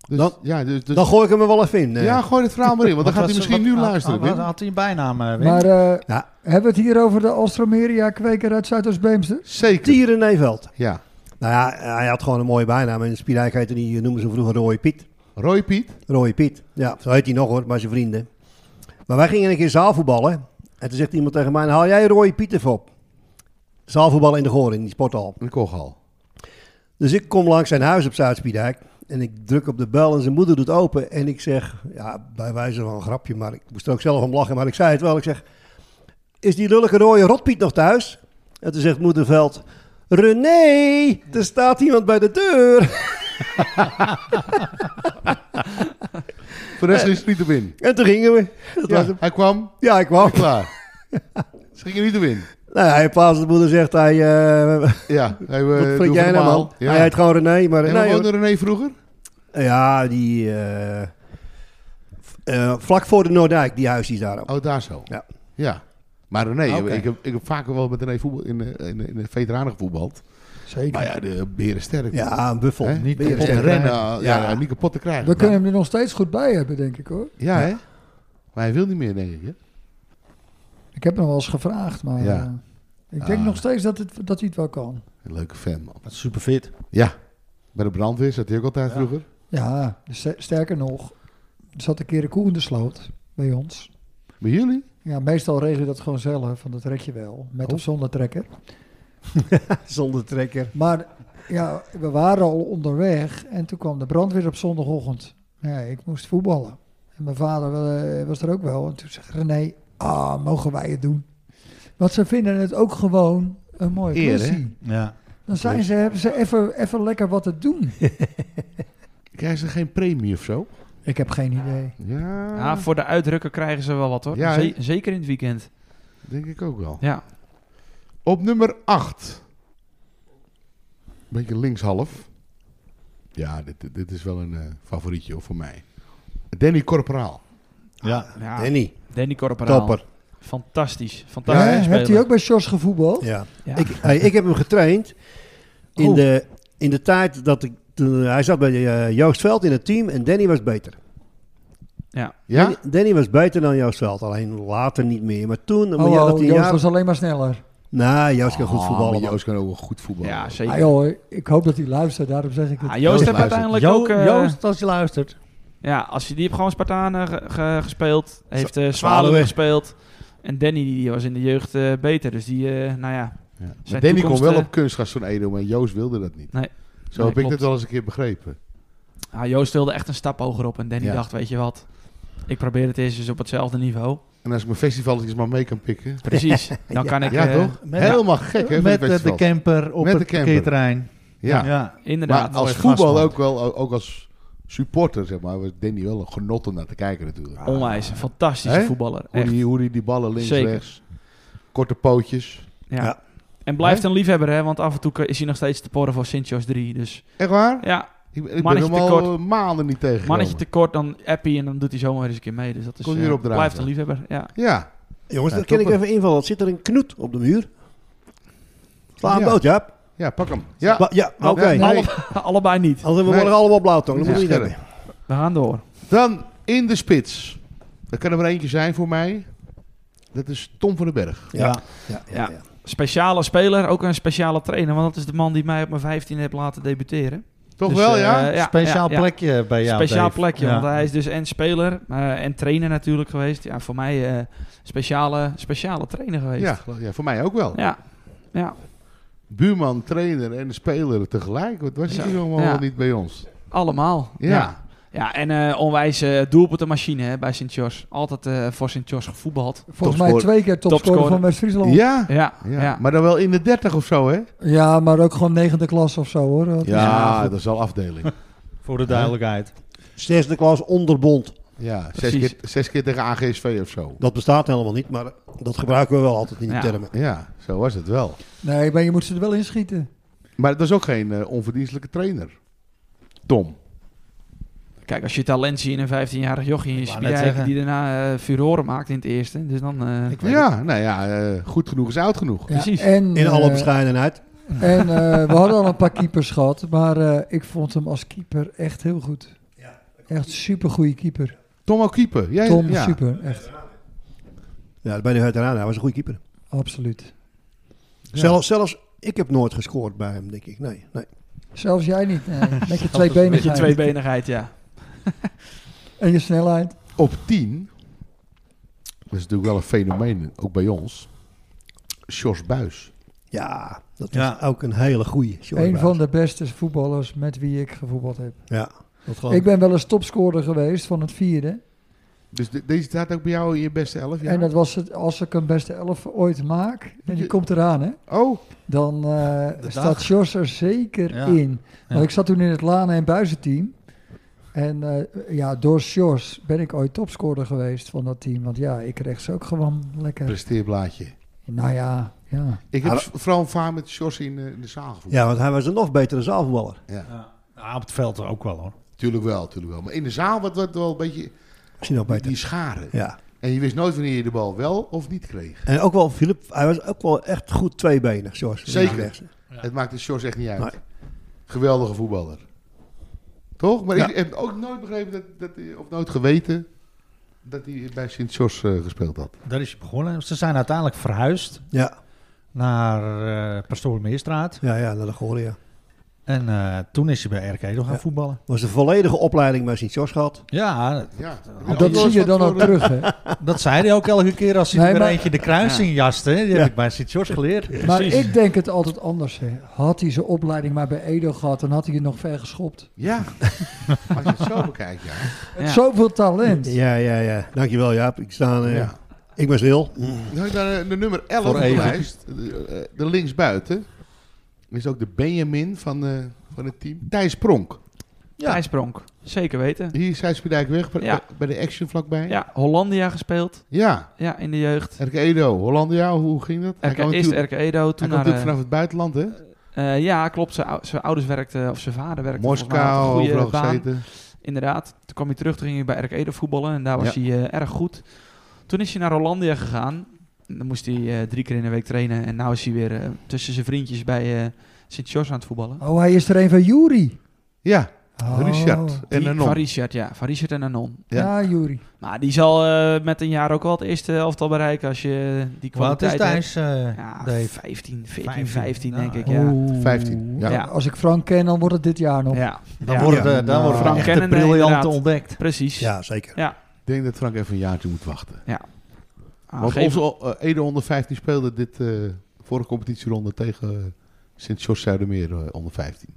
Dus, Dan- ja, dus, dus- dan gooi ik hem er wel even in. eh. ja, gooi het verhaal maar in, want dan gaat hij misschien nu luisteren. Had, Wim. had hij een bijnaam, eh, Wim? maar eh, Ja. hebben we het hier over de Alstromeria kweker uit Zuidoost-Beemster? Zeker. Tieren Nijveld. Ja. Nou ja, hij had gewoon een mooie bijnaam. En Spierijk heette die, eh, noemen ze vroeger Rooie Piet. Roy Piet. Rooie Piet. Ja, zo heet hij nog hoor, maar zijn vrienden. Maar wij gingen een keer zaalvoetballen. En toen zegt iemand tegen mij, haal jij Rooie Piet even op. Zaalvoetballen in de Goor, in die sporthal. De Kochal. Dus ik kom langs zijn huis op Zuid-Spiedijk. En ik druk op de bel en zijn moeder doet open. En ik zeg, ja, bij wijze van een grapje, maar ik moest er ook zelf om lachen. Maar ik zei het wel. Ik zeg, is die lullige rode rotpiet nog thuis? En toen zegt moederveld, René, er staat iemand bij de deur. Voor de rest is het niet te win. En toen gingen we. Dat Eh, was Ja, hem. hij kwam. ja ik Al kwam. klaar. Ze gingen niet te win. Nou, ja, in plaats dat de moeder zegt, hij, eh, Ja. Hij, eh, wat doe vind jij nou normaal. man? Ja. Hij heet gewoon René, maar En nee, hoe hoor. woonde René vroeger? Ja, die... eh, v- eh, vlak voor de Noordijk, die huis is daar ook. Oh, daar zo. Ja. Ah, Ja. Maar René, Oké. ik, heb, ik heb vaker wel met René voetbal, in, eh, in, in de veteranen gevoetbald. Zeker. Maar ja, de beren sterk. Ja, een buffel. Hè? Niet Ben je kapot En sterk? te rennen, krijgen. ja. Ja. ja, niet kapot te krijgen. We kunnen hem er nog steeds goed bij hebben, denk ik hoor. Ja, hè? Maar hij wil niet meer, denk ik. Hè? Ik heb nog wel eens gevraagd, maar Ja. eh, ik denk Ah. nog steeds dat, het, dat hij het wel kan. Een leuke fan, man. Dat is super fit. Ja. Bij de brandweer zat hij ook altijd vroeger. Ja, dus st- sterker nog, er zat een keer een koe in de sloot bij ons. Bij jullie? Ja, meestal regel je dat gewoon zelf, want dat trek je wel, met Oh. of zonder trekker. Zonder trekker. Maar ja, we waren al onderweg en toen kwam de brandweer op zondagochtend. Ja, ik moest voetballen. En mijn vader eh, was er ook wel. En toen zegt René, ah, mogen wij het doen? Want ze vinden het ook gewoon een mooie Eer, hè? kwestie. Ja. Dan zijn ze, hebben ze even, even lekker wat te doen. Krijgen ze geen premie of zo? Ik heb geen idee. Ja, Ja, nou, voor de uitdrukken krijgen ze wel wat hoor. Ja, Ze- hè? zeker in het weekend. denk ik ook wel. Ja. Op nummer 8. Beetje linkshalf. Ja, dit, dit is wel een eh, favorietje hoor, voor mij. Danny Corporaal. Ja. ja. Danny, Danny, Corporaal. topper. Fantastisch. Hè, Fantastisch. Hebt hij ook bij Sjors gevoetbald? Ja. Ja. Ik, hey, ik heb hem getraind in, Oh. de, in de tijd dat ik... Toen, hij zat bij eh, Joost Veld in het team en Danny was beter. Ja? Danny, Danny was beter dan Joost Veld, alleen later niet meer. Maar toen, maar Oh, ja, dat oh, die Joost jaren- was alleen maar sneller. Nou, Joost kan goed Ah, voetballen. maar man. Joost kan ook wel goed voetballen. Ja, Ah, zeker. joh, ik hoop dat hij luistert, daarom zeg ik het. Ah, Joost heeft luistert. uiteindelijk Jo- ook... eh, Joost, als je luistert. Ja, als je, die heeft gewoon Spartanen ge- ge- gespeeld. Heeft eh Zwaluwe Zwaluwe. gespeeld. En Danny die was in de jeugd eh, beter. Dus die, eh, nou ja. Ja. Maar Zijn Danny toekomst, kon wel eh, op kunstgas van Edo, maar Joost wilde dat niet. Nee. Zo Nee, heb ik klopt. dat wel eens een keer begrepen. Ah, Joost wilde echt een stap hoger op. En Danny Ja. dacht, weet je wat. Ik probeer het eerst eens op hetzelfde niveau. En als ik mijn festivalletjes maar mee kan pikken. Precies. Dan kan ik... ja, eh, toch? met- Helemaal gek, Met hè? van eh, het de festival. camper op Met de het camper. parkeerterrein. Ja. ja. Inderdaad. Maar als mooi gastland. voetbal ook wel, ook als supporter, zeg maar, was Danny wel een genot om naar te kijken natuurlijk. Onwijs. Een fantastische Hè? voetballer. Hoe Echt. die, hoe die, die ballen links, Zeker. rechts. Korte pootjes. Ja. Ja. En blijft Hè? een liefhebber, hè? Want af en toe k- is hij nog steeds te porren voor Sint-Jos 3. Dus Echt waar? ja, Ik, ik ben Mannetje hem al tekort. eh, maanden niet tegen. mannetje tekort, dan appie en dan doet hij zomaar weer eens een keer mee. Dus dat is, Kon je eh, erop draven. blijft een liefhebber. Ja. Ja. Jongens, Ja, dat kan ik topper. even invallen. Wat zit er een knoet op de muur? Sla een Ja. boot, Jaap. ja, pak hem. Ja. Ba- ja oké. Ja, nee. Allebei niet. Anders hebben we Nee. morgen allemaal blauw, toch? Dat Ja, moeten we niet scherp. hebben. We gaan door. Dan in de spits. Dat kan er maar eentje zijn voor mij. Dat is Tom van den Berg. Ja. Ja, ja, Ja. ja. Speciale speler, ook een speciale trainer. Want dat is de man die mij op mijn 15 heeft laten debuteren. Toch Dus, wel, eh, ja? ja, Ah, Speciaal ja, ja. plekje bij jou. Speciaal Dave. plekje, Ja. want hij is dus en speler eh, en trainer natuurlijk geweest. Ja, voor mij eh, speciale, speciale trainer geweest. ja, geloof- ja, voor mij ook wel. ja. ja. Buurman, trainer en speler tegelijk. Wat was Zo. je allemaal Ja. wel niet bij ons? Allemaal. Ja. Ja, en eh onwijs eh doelpuntenmachine hè, bij Sint-Jos. Altijd eh, voor Sint-Jos gevoetbald. Volgens mij Topscorer. twee keer topscorer Topscorer. van West-Friesland. Ja. Ja, Ja, ja. ja, maar dan wel in de 30 of zo, hè? maar ook gewoon negende klas of zo hoor. Dat is- Ja, dat is wel afdeling. eh, Voor de duidelijkheid. Zesde klas onderbond. Ja, zes Precies. keer, zes keer tegen AGSV of zo. Dat bestaat helemaal niet, maar dat gebruiken we wel altijd in die Ja. termen. Ja, zo was het wel. Nee, maar je moet ze er wel inschieten. Maar dat is ook geen eh, onverdienstelijke trainer. Tom. Kijk, als je talent ziet in een 15-jarig jochie in wou net Spiedijk zeggen. die daarna eh furoren maakt in het eerste. Dus dan... eh, Ik weet het. Ja, nou ja, eh, goed genoeg is oud genoeg. Ja, Precies. En, In alle eh, bescheidenheid. En eh, we hadden al een paar keepers gehad, maar eh, ik vond hem als keeper echt heel goed. Echt super goede keeper. Tom ook keeper. Jij, Tom, ja. super, echt. Ja, bij de veteraan, hij was een goede keeper. Absoluut. Zelfs, zelfs ik heb nooit gescoord bij hem, denk ik. Nee, nee. Zelfs jij niet. Nee. Met je Met je tweebenigheid tweebenigheid, ja. en je snelheid. Op 10. Dat is natuurlijk wel een fenomeen, ook bij ons. Sjors Buis. Ja, dat was Ja. ook een hele goeie. Sjoerd Een Buijs. van de beste voetballers met wie ik gevoetbald heb. Ja, dat geloof Ik ben wel eens topscorer geweest van het vierde. Dus de- deze staat ook bij jou in je beste elf jaar? En dat was het, als ik een beste elf ooit maak, en die Je- komt eraan hè, Oh, dan eh, De staat dag. Sjors er zeker Ja. in. Want Ja. ik zat toen in het Lanen en Buizenteam. En eh, ja, door Sjors ben ik ooit topscorer geweest van dat team. Want ja, ik kreeg ze ook gewoon lekker. presteerblaadje. Nou ja, ja. Ik heb Ah, s- vooral vaak met Sjors in, eh, in de zaal gevoeld. Ja, want hij was een nog betere zaalvoetballer. Ah, op het veld ook wel hoor. Tuurlijk wel, tuurlijk wel. Maar in de zaal werd werd wel een beetje Misschien nog die, beter. die scharen. Ja. En je wist nooit wanneer je de bal wel of niet kreeg. En ook wel, Filip, hij was ook wel echt goed tweebenig, zoals we Zeker. zeggen. Het maakt de Sjors echt niet uit. Nee. Geweldige voetballer. Toch? Maar Ja. ik heb ook nooit begrepen, dat, dat, hij- of nooit geweten, dat hij bij Sint-Sjors eh, gespeeld had. Daar is je begonnen. Ze zijn uiteindelijk verhuisd Ja, naar eh Pastoor Meerstraat. ja, ja, naar de Goria. En eh, toen is hij bij RK nog gaan Ja. voetballen. Was de volledige opleiding bij Sint-Jos gehad. Ja, Ja. Ja, dat zie je dan ook terug. terug hè. dat zei hij ook elke keer als hij Nee, er maar- eentje de kruis in jaste. hè. Die Ja. heb ik bij Sint-George geleerd. Maar ik denk het altijd anders hè. Had hij zijn opleiding maar bij Edo gehad, dan had hij het nog ver geschopt. Ja. Als je het zo bekijkt, ja. Ja. Zoveel talent. Ja, ja, ja. Mm. Dankjewel, Jaap. Ik, sta, eh, Ja. ik ben stil. Dan ga ik naar eh, de, de nummer 11 Voor op de even. lijst. De, eh, de linksbuiten. Is ook de Benjamin van, eh, van het team. Thijs Pronk. ja. Thijs Pronk, zeker weten. Hier is Zijsperdijk weg, bij, Ja. bij de action vlakbij. Ja, Hollandia gespeeld. ja. Ja, in de jeugd. RK Edo, Hollandia, hoe- hoe ging dat? RK, eerst natuurlijk, RK hij Edo, toen kwam naar... natuurlijk eh, vanaf het buitenland, hè? eh, ja, klopt. Zijn ou- zijn ouders werkten, of zijn vader werkte volgens mij, had een Moskou, goede overal baan. gezeten. Inderdaad. Toen kwam hij terug, toen ging hij bij RK Edo voetballen. En daar was hij eh, erg goed. Toen is hij naar Hollandia gegaan. En Dan moest hij eh, drie keer in de week trainen. En nu is hij weer eh, tussen zijn vriendjes bij eh Sint-Jos aan het voetballen. Oh, hij is er een van Jury. Ja, Oh. Richard en Die- Anon. Van Richard, ja. Van Richard en Anon. Ja, Jury. Maar die zal eh, met een jaar ook wel het eerste elftal bereiken als je eh, die Wat is kwaliteit hebt. Thijs? eh, Ja, Dave? 15, 14, 15, 15 nou, denk ik, ja. Oeh. 15, Oh. ja. Ja. Als ik Frank ken, dan wordt het dit jaar nog. Ja, Dan Ja. worden, Ja. dan worden Nou, echt de kennende briljanten inderdaad. ontdekt. precies. Ja, zeker. Ik denk dat Frank even een jaartje moet wachten. Ah, Want geef- onze eh, Edo onder 15 speelde dit eh, vorige competitieronde tegen Sint-Jos Zuidermeer eh, onder 15.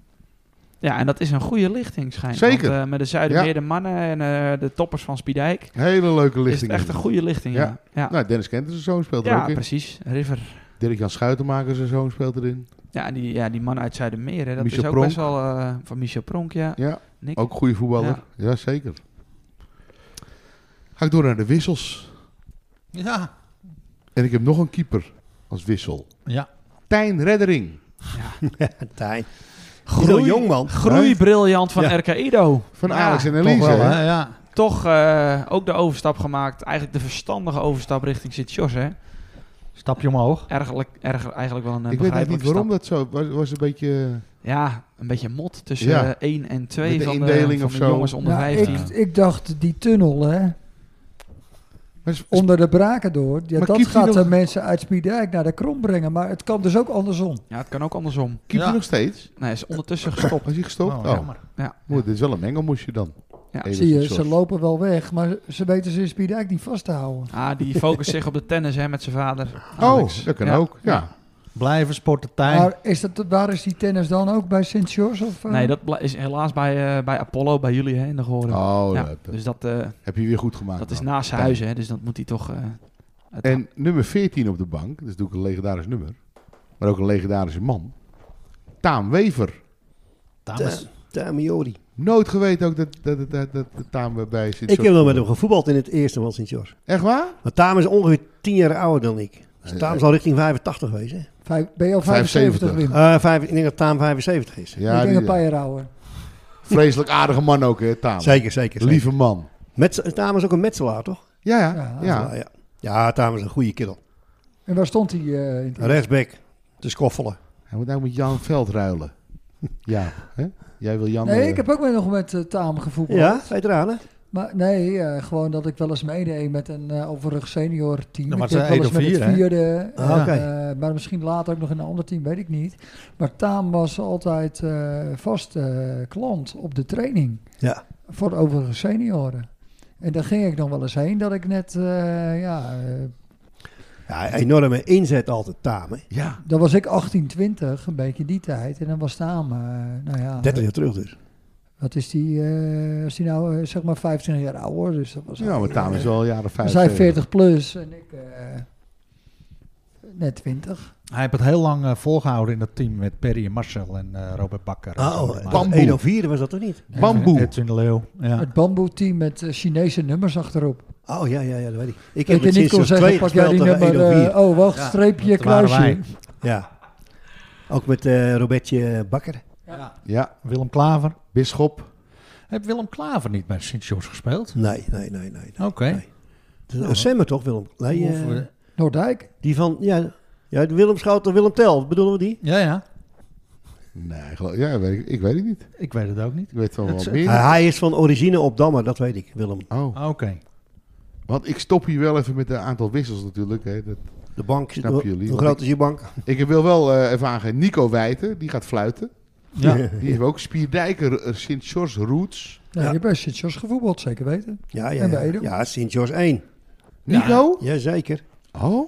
Ja, en dat is een goede lichting schijnt. Zeker. Want, eh, met de Zuidermeer, de mannen en eh, de toppers van Spiedijk Hele leuke lichting. is het echt een goede lichting. Ja. Ja, ja. ja. Nou, Dennis Kent zijn zoon speelt er ook in. precies. River. Dirk-Jan Schuitenmaker zijn zoon speelt erin. Ja, en die, ja, die man uit Zuidermeer, hè, dat Michel is ook Pronk. best wel eh, van Michel Pronk, ja. Ja, Nick. ook goede voetballer. Ja. zeker. Ga ik door naar de wissels. Ja. En ik heb nog een keeper als wissel. Ja. Tijn Reddering Tijn. Groei- jong, man. Groeibriljant van Ja. RK Edo. van Ja, Alex en Toch Elise. wel, hè? hè? Ja. Toch eh, ook de overstap gemaakt. Eigenlijk de verstandige overstap richting Sint-Jos, hè. Stapje omhoog. Eigenlijk, erg, eigenlijk wel een eh, Ik weet eigenlijk begrijpelijke niet waarom stap. dat zo was. was een beetje... eh, Ja, een beetje mot tussen Ja. eh, 1 en 2 Met de van de, indeling van of de zo. jongens onder Ja, 15. ik, ik dacht, die tunnel, hè, Maar is- onder de braken door, ja, Maar dat keept hij gaat nog- de mensen uit Spiedijk naar de Krom brengen. Maar het kan dus ook andersom. Ja, het kan ook andersom. Keept Ja. hij nog steeds? Nee, hij is ondertussen gestopt. Was hij gestopt? Oh, Oh. jammer. Ja. Mooi, dit is wel een mengelmoesje dan. Ja. Even Zie je, iets ze zoals- lopen wel weg, maar ze weten ze in Spiedijk niet vast te houden. Ah, die focust zich op de tennis hè, met zijn vader. Oh, Alex. dat kan Ja. ook. Ja. Blijven sporten, Tijn. Maar is dat, waar is die tennis dan ook bij St. George? Of, eh? Nee, dat bla- is helaas bij, eh, bij Apollo, bij jullie hè, in de gehoorde. Oh, Ja, dat, dus dat, eh, heb je weer goed gemaakt. dat is man. naast zijn huis, hè, dus dat moet hij toch... eh, het- En nummer 14 op de bank, dat is natuurlijk een legendarisch nummer, maar ook een legendarische man. Taam Wever. Dames. Tamiori. Nooit geweten ook dat, dat, dat, dat, dat Taam bij zit. Ik heb wel met hem gevoetbald in het eerste van Sint George. Echt waar? Maar Taam is ongeveer 10 jaar ouder dan ik. Dus Taam zal richting 85 wezen. Vijf- ben je al 75, 75. Wim? Eh vijf, ik denk dat Taam 75 is. Ja, ik denk die- eh, een paar jaar ouder. vreselijk aardige man ook, hè, Taam. Zeker, zeker. zeker. Lieve man. Mets- Taam is ook een metselaar, toch? Ja, ja. Ja, ja. ja. ja Taam is een goede kerel. En waar stond hij? eh, in het- Rechtsback. Te schoffelen. Hij moet nou met Jan Veld ruilen. ja, hè? Jij wil Jan... nee, eh, ik heb ook wel nog met eh, Taam gevoetbald. Ja, veteranen. Maar nee, eh, gewoon dat ik wel eens meedeed met een eh, overig senior team. Nou, maar ik het deed zijn wel eens één met of het vierde. Ah, en, oké. eh, maar misschien later ook nog in een ander team, weet ik niet. Maar Taam was altijd eh, vast eh, klant op de training Ja. voor overige senioren. En daar ging ik dan wel eens heen dat ik net, eh, ja, eh, ja enorme inzet altijd, Taam. hè. Ja, dan was ik 18, 20, een beetje die tijd. En dan was Taam, eh, nou ja, 30 jaar terug dus. wat is die, eh is die nou eh, zeg maar 25 jaar ouder. Dus dat was ja maar Taam is eh, wel jaren We 50. zijn 40 plus en ik eh, net 20. Hij heeft het heel lang eh, volgehouden in dat team met Perry en Marcel en eh, Robert Bakker. en zo. Maar- Oh, 104 was dat toch niet? Bamboe. Edwin de Leeuw. Ja. Het bamboe team met eh, Chinese nummers achterop. Oh ja, ja, ja, dat weet ik. Dat Ik heb je het niet sinds kon seizoen zeggen, 2 pak jij gespeeld die tegen nummer... 104. eh, oh, wacht, streepje, dat waren kruisje. Ja. Ook met eh, Robertje Bakker. Ja, Willem Klaver. Bisschop. Heeft Willem Klaver niet bij Sint George gespeeld? Nee, nee, nee, nee. Oké. Nee. nee. Semmer toch, Willem? Nee, eh, Of, eh, Noordijk. die van, ja, ja de Willem Schouten, Willem Tel, bedoelen we die? Ja, ja. Nee, geloof, ja, weet ik, ik weet het niet. Ik weet het ook niet. Ik weet wel Het- wat meer. Hij- Eh, hij is Ah. van origine op Dammer, dat weet ik, Willem. Oh, Ah, Oké. want ik stop hier wel even met een aantal wissels natuurlijk. Hè. Dat, De bank, Snap hoe, jullie, hoe want groot ik- is je bank? ik wil wel eh, even aangeven, Nico Wijten, die gaat fluiten. Ja. Die heeft ook Spierdijker eh, Sint George Roots. Nou, Ja. Je hebt bij Sint Jos gevoetbald, zeker weten. Ja, ja, En bij ja. Edo? ja Sint-George 1. Nico? Jazeker. Oh? Nou,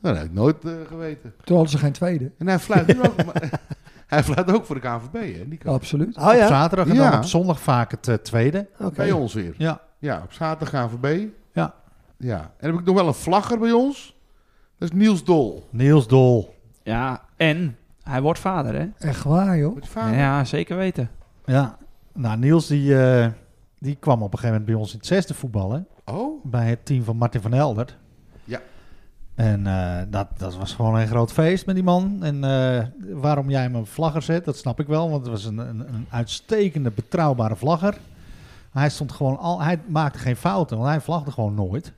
dat heb ik nooit eh, geweten. Toen hadden ze geen tweede. En hij fluit nu ook. maar- hij fluit ook voor de KNVB, hè, Nico? Absoluut. Oh Op ja? zaterdag en Ja. dan op zondag vaak het eh, tweede. Oké. Bij ons weer. Ja. Ja, op zaterdag KNVB. Ja. Ja. En dan heb ik nog wel een vlagger bij ons. Dat is Niels Dol. Niels Dol. ja, en hij wordt vader, hè? Echt waar, joh. Met vader. Ja, zeker weten. Ja. Nou, Niels die, eh, die kwam op een gegeven moment bij ons in het zesde voetballen. Oh? Bij het team van Martin van Helder. Ja. En eh, dat, dat was gewoon een groot feest met die man. En eh, waarom jij hem een vlagger zet, dat snap ik wel. Want het was een, een, een uitstekende, betrouwbare vlagger. Hij stond gewoon al, hij maakte geen fouten, want hij vlagde gewoon nooit.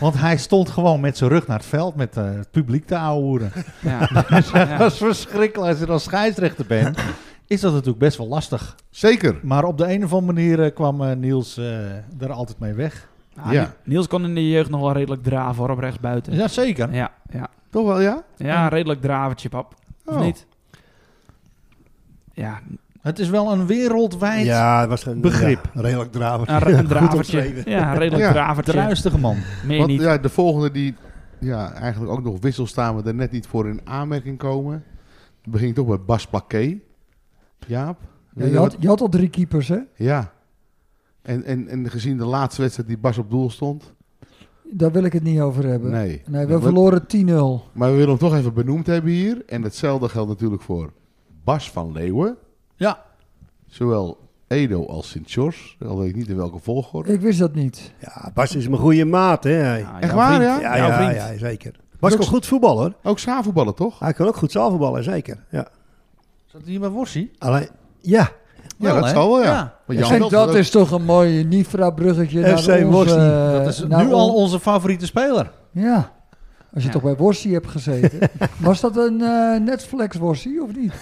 want hij stond gewoon met zijn rug naar het veld met eh, het publiek te ouwen. Ja. dat was verschrikkelijk. Als je dan scheidsrechter bent, is dat natuurlijk best wel lastig. Zeker. Maar op de een of andere manier eh, kwam eh, Niels eh er altijd mee weg. Nou, Ja. Ni- Niels kon in de jeugd nog wel redelijk draven hoor, op rechtsbuiten. Ja, Jazeker. ja, ja. Toch wel, ja? ja redelijk dravertje, pap. Of Oh. niet? Ja, Het is wel een wereldwijd Ja, het was een Begrip. ja, redelijk draver. een, ra- een Goed dravertje. omschreven. Ja, redelijk Ja, dravertje. druistige man. Meer Want niet. ja, de volgende die ja, eigenlijk ook nog wissel staan we er net niet voor in aanmerking komen. Dan begin ik toch bij Bas Plaquet. Jaap? Ja, je, had, je had al drie keepers, hè? Ja. En, en, en gezien de laatste wedstrijd die Bas op doel stond? Daar wil ik het niet over hebben. Nee. Nee, we Ja, verloren 10-0. Maar we willen hem toch even benoemd hebben hier. En hetzelfde geldt natuurlijk voor Bas van Leeuwen. Ja. Zowel Edo als Sint-George. Al weet ik niet in welke volgorde. Ik wist dat niet. Ja, Bas is mijn goede maat, hè. hij. Ja, Echt Ah, jouw waar, vriend. ja? Ja, jouw ja, vriend. ja, zeker. Bas kon goed voetballen, hoor. Ook zaalvoetballen, toch? Hij kon ook goed zaalvoetballen, zeker. Ja. Zat hier bij Eh, Worsie? Alleen, ja. Ja, dat hè? zal wel, ja. Ja. Want Jan en Veld dat ook- is toch een mooi Nifra-bruggetje naar FC onze... eh, Worsie. Dat is naar nou, nu on- al onze favoriete speler. Ja. Als je Ja. toch bij Worsie hebt gezeten. Was dat een eh, Netflix Worsie of niet?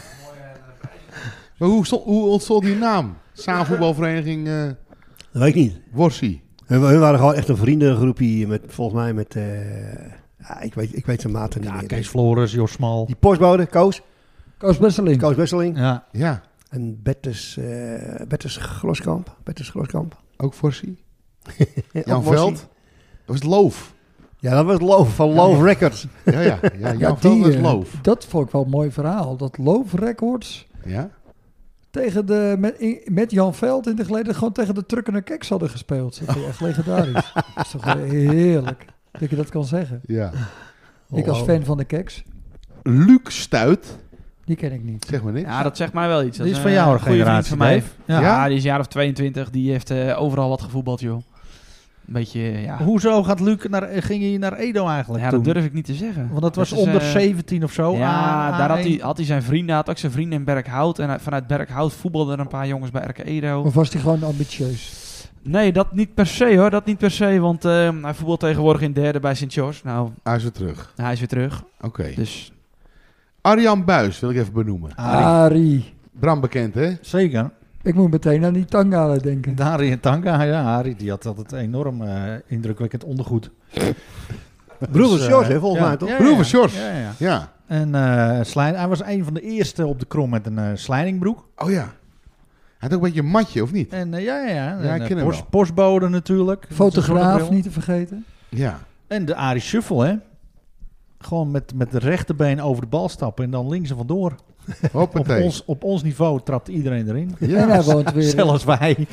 Maar hoe, stond- hoe ontstond die naam? Zaalvoetbalvereniging eh Dat weet ik niet. Worsie. Hun, hun waren gewoon echt een vriendengroepie. Met, volgens mij met... eh, ja, ik, weet, ik weet zijn maten niet Ja, meer. Kees Flores, Jos Smal. Die postbode, Koos. Koos Besseling. Koos Wesseling. Ja. Ja, En Bertus, eh Bertus Gloskamp. Bertus Gloskamp. ook Worsie. Ook Jan Worsie. Veld. Dat was Loof. Ja, dat was Loof van Loof Ja. Records. Ja, ja. ja jouw die, film is eh, loof. Dat vond ik wel een mooi verhaal. Dat Loof Records Ja? tegen de, met, in- met Jan Veld in de geleden gewoon tegen de truckende keks hadden gespeeld. Dat is echt legendarisch. Dat is toch heerlijk dat je dat kan zeggen. Ja. Ik als fan van de keks, Luc Stuit, die ken ik niet. zeg maar niks. Ja, dat zegt mij wel iets. Dat Die is een, van jouw eh, goede vriend generatie, van mij. Dave. Ja. Ja. die is een jaar of 22. Die heeft eh, overal wat gevoetbald, joh. Een beetje, eh, ja. Hoezo gaat Luc naar, ging hij naar Edo eigenlijk Ja, toen? dat durf ik niet te zeggen. Want dat was is, onder eh, 17 of zo. Ja, A- daar had A1. hij, had hij zijn vrienden. had ook zijn vrienden in Berkhout. En hij- vanuit Berkhout voetbalden er een paar jongens bij RK Edo. Of was die gewoon ambitieus? Nee, dat niet per se hoor. Dat niet per se. Want eh, hij voetbalt tegenwoordig in derde bij Sint-Jors. Nou, Hij is weer terug. hij is weer terug. Oké. Dus Arjan Buis wil ik even benoemen. Arie. Ah. Arie. Bram bekend, hè? Zeker. Ik moet meteen aan die tangalen denken. Dari en Tanka, ja, Harry, die had altijd enorm eh, indrukwekkend ondergoed. Broeders eh, George, hè, volgens ja. mij, toch? Ja, ja, Broer van ja. Sjors. Ja, ja. Ja. En eh slijn, hij was een van de eerste op de krom met een eh slijningbroek. Oh ja. Hij had ook een beetje een matje, of niet? En eh, ja, ja, ja. Ja, ik en, eh, ken hem post- wel. postbode natuurlijk. Met zijn Fotograaf, zonnebril. niet te vergeten. Ja. En de Arie Shuffle, hè. Gewoon met, met de rechterbeen over de bal stappen en dan links er vandoor. Op Hoppatee. ons, op ons niveau trapt iedereen erin. En Ja. hij woont eh, weer, Zelfs wij.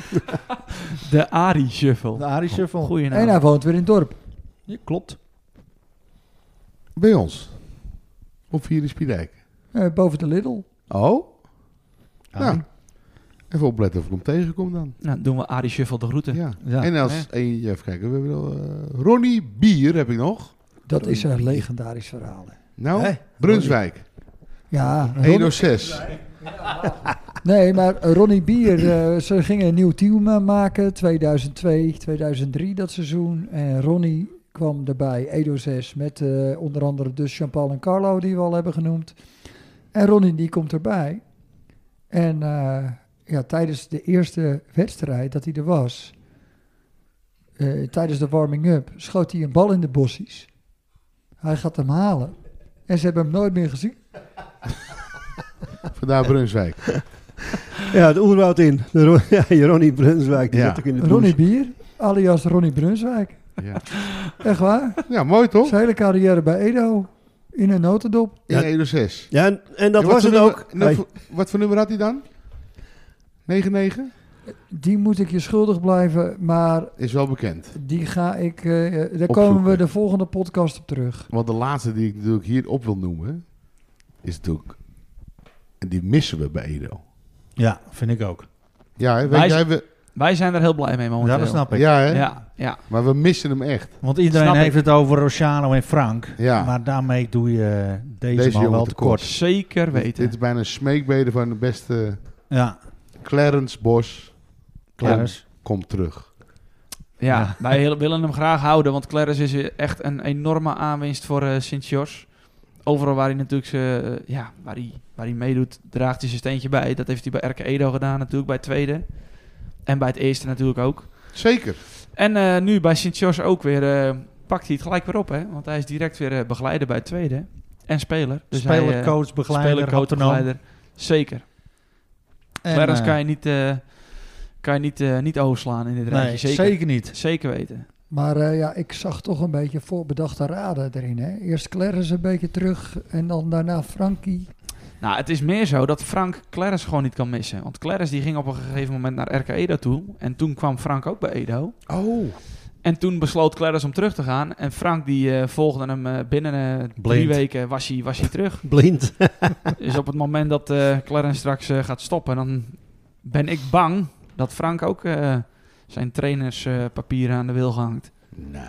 de Ari Shuffle. De Arie Shuffle. Goeie en naam. nou- hij woont weer in het dorp. Ja, klopt. Bij ons. Op hier in Spiedijk. Eh, boven de Lidl. Oh? Arie. Ja. Even opletten of ik hem tegenkom dan. Nou, doen we Ari Shuffle de groeten. Ja. Ja. En als Ja. één, even kijken, we hebben wel, eh, Ronnie Bier heb ik nog. Dat is een legendarisch verhaal. hè. Nou, Hé, Brunswijk, Ja, Ronnie- 106. nee, maar Ronnie Bier, eh, ze gingen een nieuw team eh, maken, 2002, 2003 dat seizoen. En Ronnie kwam erbij, Edo 6, met eh, onder andere dus Jean-Paul en Carlo, die we al hebben genoemd. En Ronnie die komt erbij. En eh, ja, tijdens de eerste wedstrijd dat hij er was, eh, tijdens de warming-up, schoot hij een bal in de bossies. Hij gaat hem halen. En ze hebben hem nooit meer gezien. Vandaar Brunswijk. Ja, het oerwoud in. De Ro- ja, Ronnie Brunswijk, die Ja. zat ook in de Ronnie blues. Bier, alias Ronnie Brunswijk. Ja. Echt waar? ja, mooi toch? Zijn hele carrière bij Edo. In een notendop. In Ja. 106. Ja, en, en dat En wat was voor het nummer- ook. nummer- Hey, Wat voor nummer had hij dan? 99? Die moet ik je schuldig blijven, maar Is wel bekend. die ga ik... eh, daar komen Opzoeken. we de volgende podcast op terug. Want de laatste die ik natuurlijk hier op wil noemen, is natuurlijk... En die missen we bij Edo. Ja, vind ik ook. Ja, hè, weet Wij- jij, we, Wij zijn er heel blij mee momenteel. Ja, dat snap ik. ja, hè? Ja, ja. maar we missen hem echt. Want iedereen Snap ik. heeft het over Rociano en Frank. Ja. Maar daarmee doe je deze, Deze man jongen wel tekort. tekort. zeker weten. Dit is bijna een smeekbede van de beste Ja, Clarence Bos. Clarence. Komt terug. Ja, Ja. wij heel- willen hem graag houden, want Clarence is echt een enorme aanwinst voor eh Sint-Jors. Overal waar hij natuurlijk ze, eh, ja, waar hij, waar hij meedoet, draagt hij zijn steentje bij. Dat heeft hij bij RK Edo gedaan natuurlijk, bij het tweede. En bij het eerste natuurlijk ook. Zeker. En eh, nu bij Sint-Jors ook weer, eh, pakt hij het gelijk weer op, hè. Want hij is direct weer eh, begeleider bij het tweede. En speler. Dus hij, speler, eh, coach, begeleider, speler, coach, autonoom. begeleider. Zeker. En, Clarence eh, kan je niet, eh, kan je niet, eh, niet overslaan in dit nee, rijtje. zeker. Zeker. niet. Zeker weten. Maar eh, ja, ik zag toch een beetje voorbedachte raden erin. Hè? Eerst Clarence een beetje terug en dan daarna Frankie. Nou, het is meer zo dat Frank Clarence gewoon niet kan missen. Want Clarence die ging op een gegeven moment naar RK Edo toe. En toen kwam Frank ook bij Edo. Oh. En toen besloot Clarence om terug te gaan. En Frank die eh, volgde hem eh, binnen eh, drie Blind. weken was hij, was hij terug. Blind. dus op het moment dat eh Clarence straks eh, gaat stoppen, dan ben ik bang dat Frank ook eh, zijn trainerspapieren aan de wil hangt. Nee,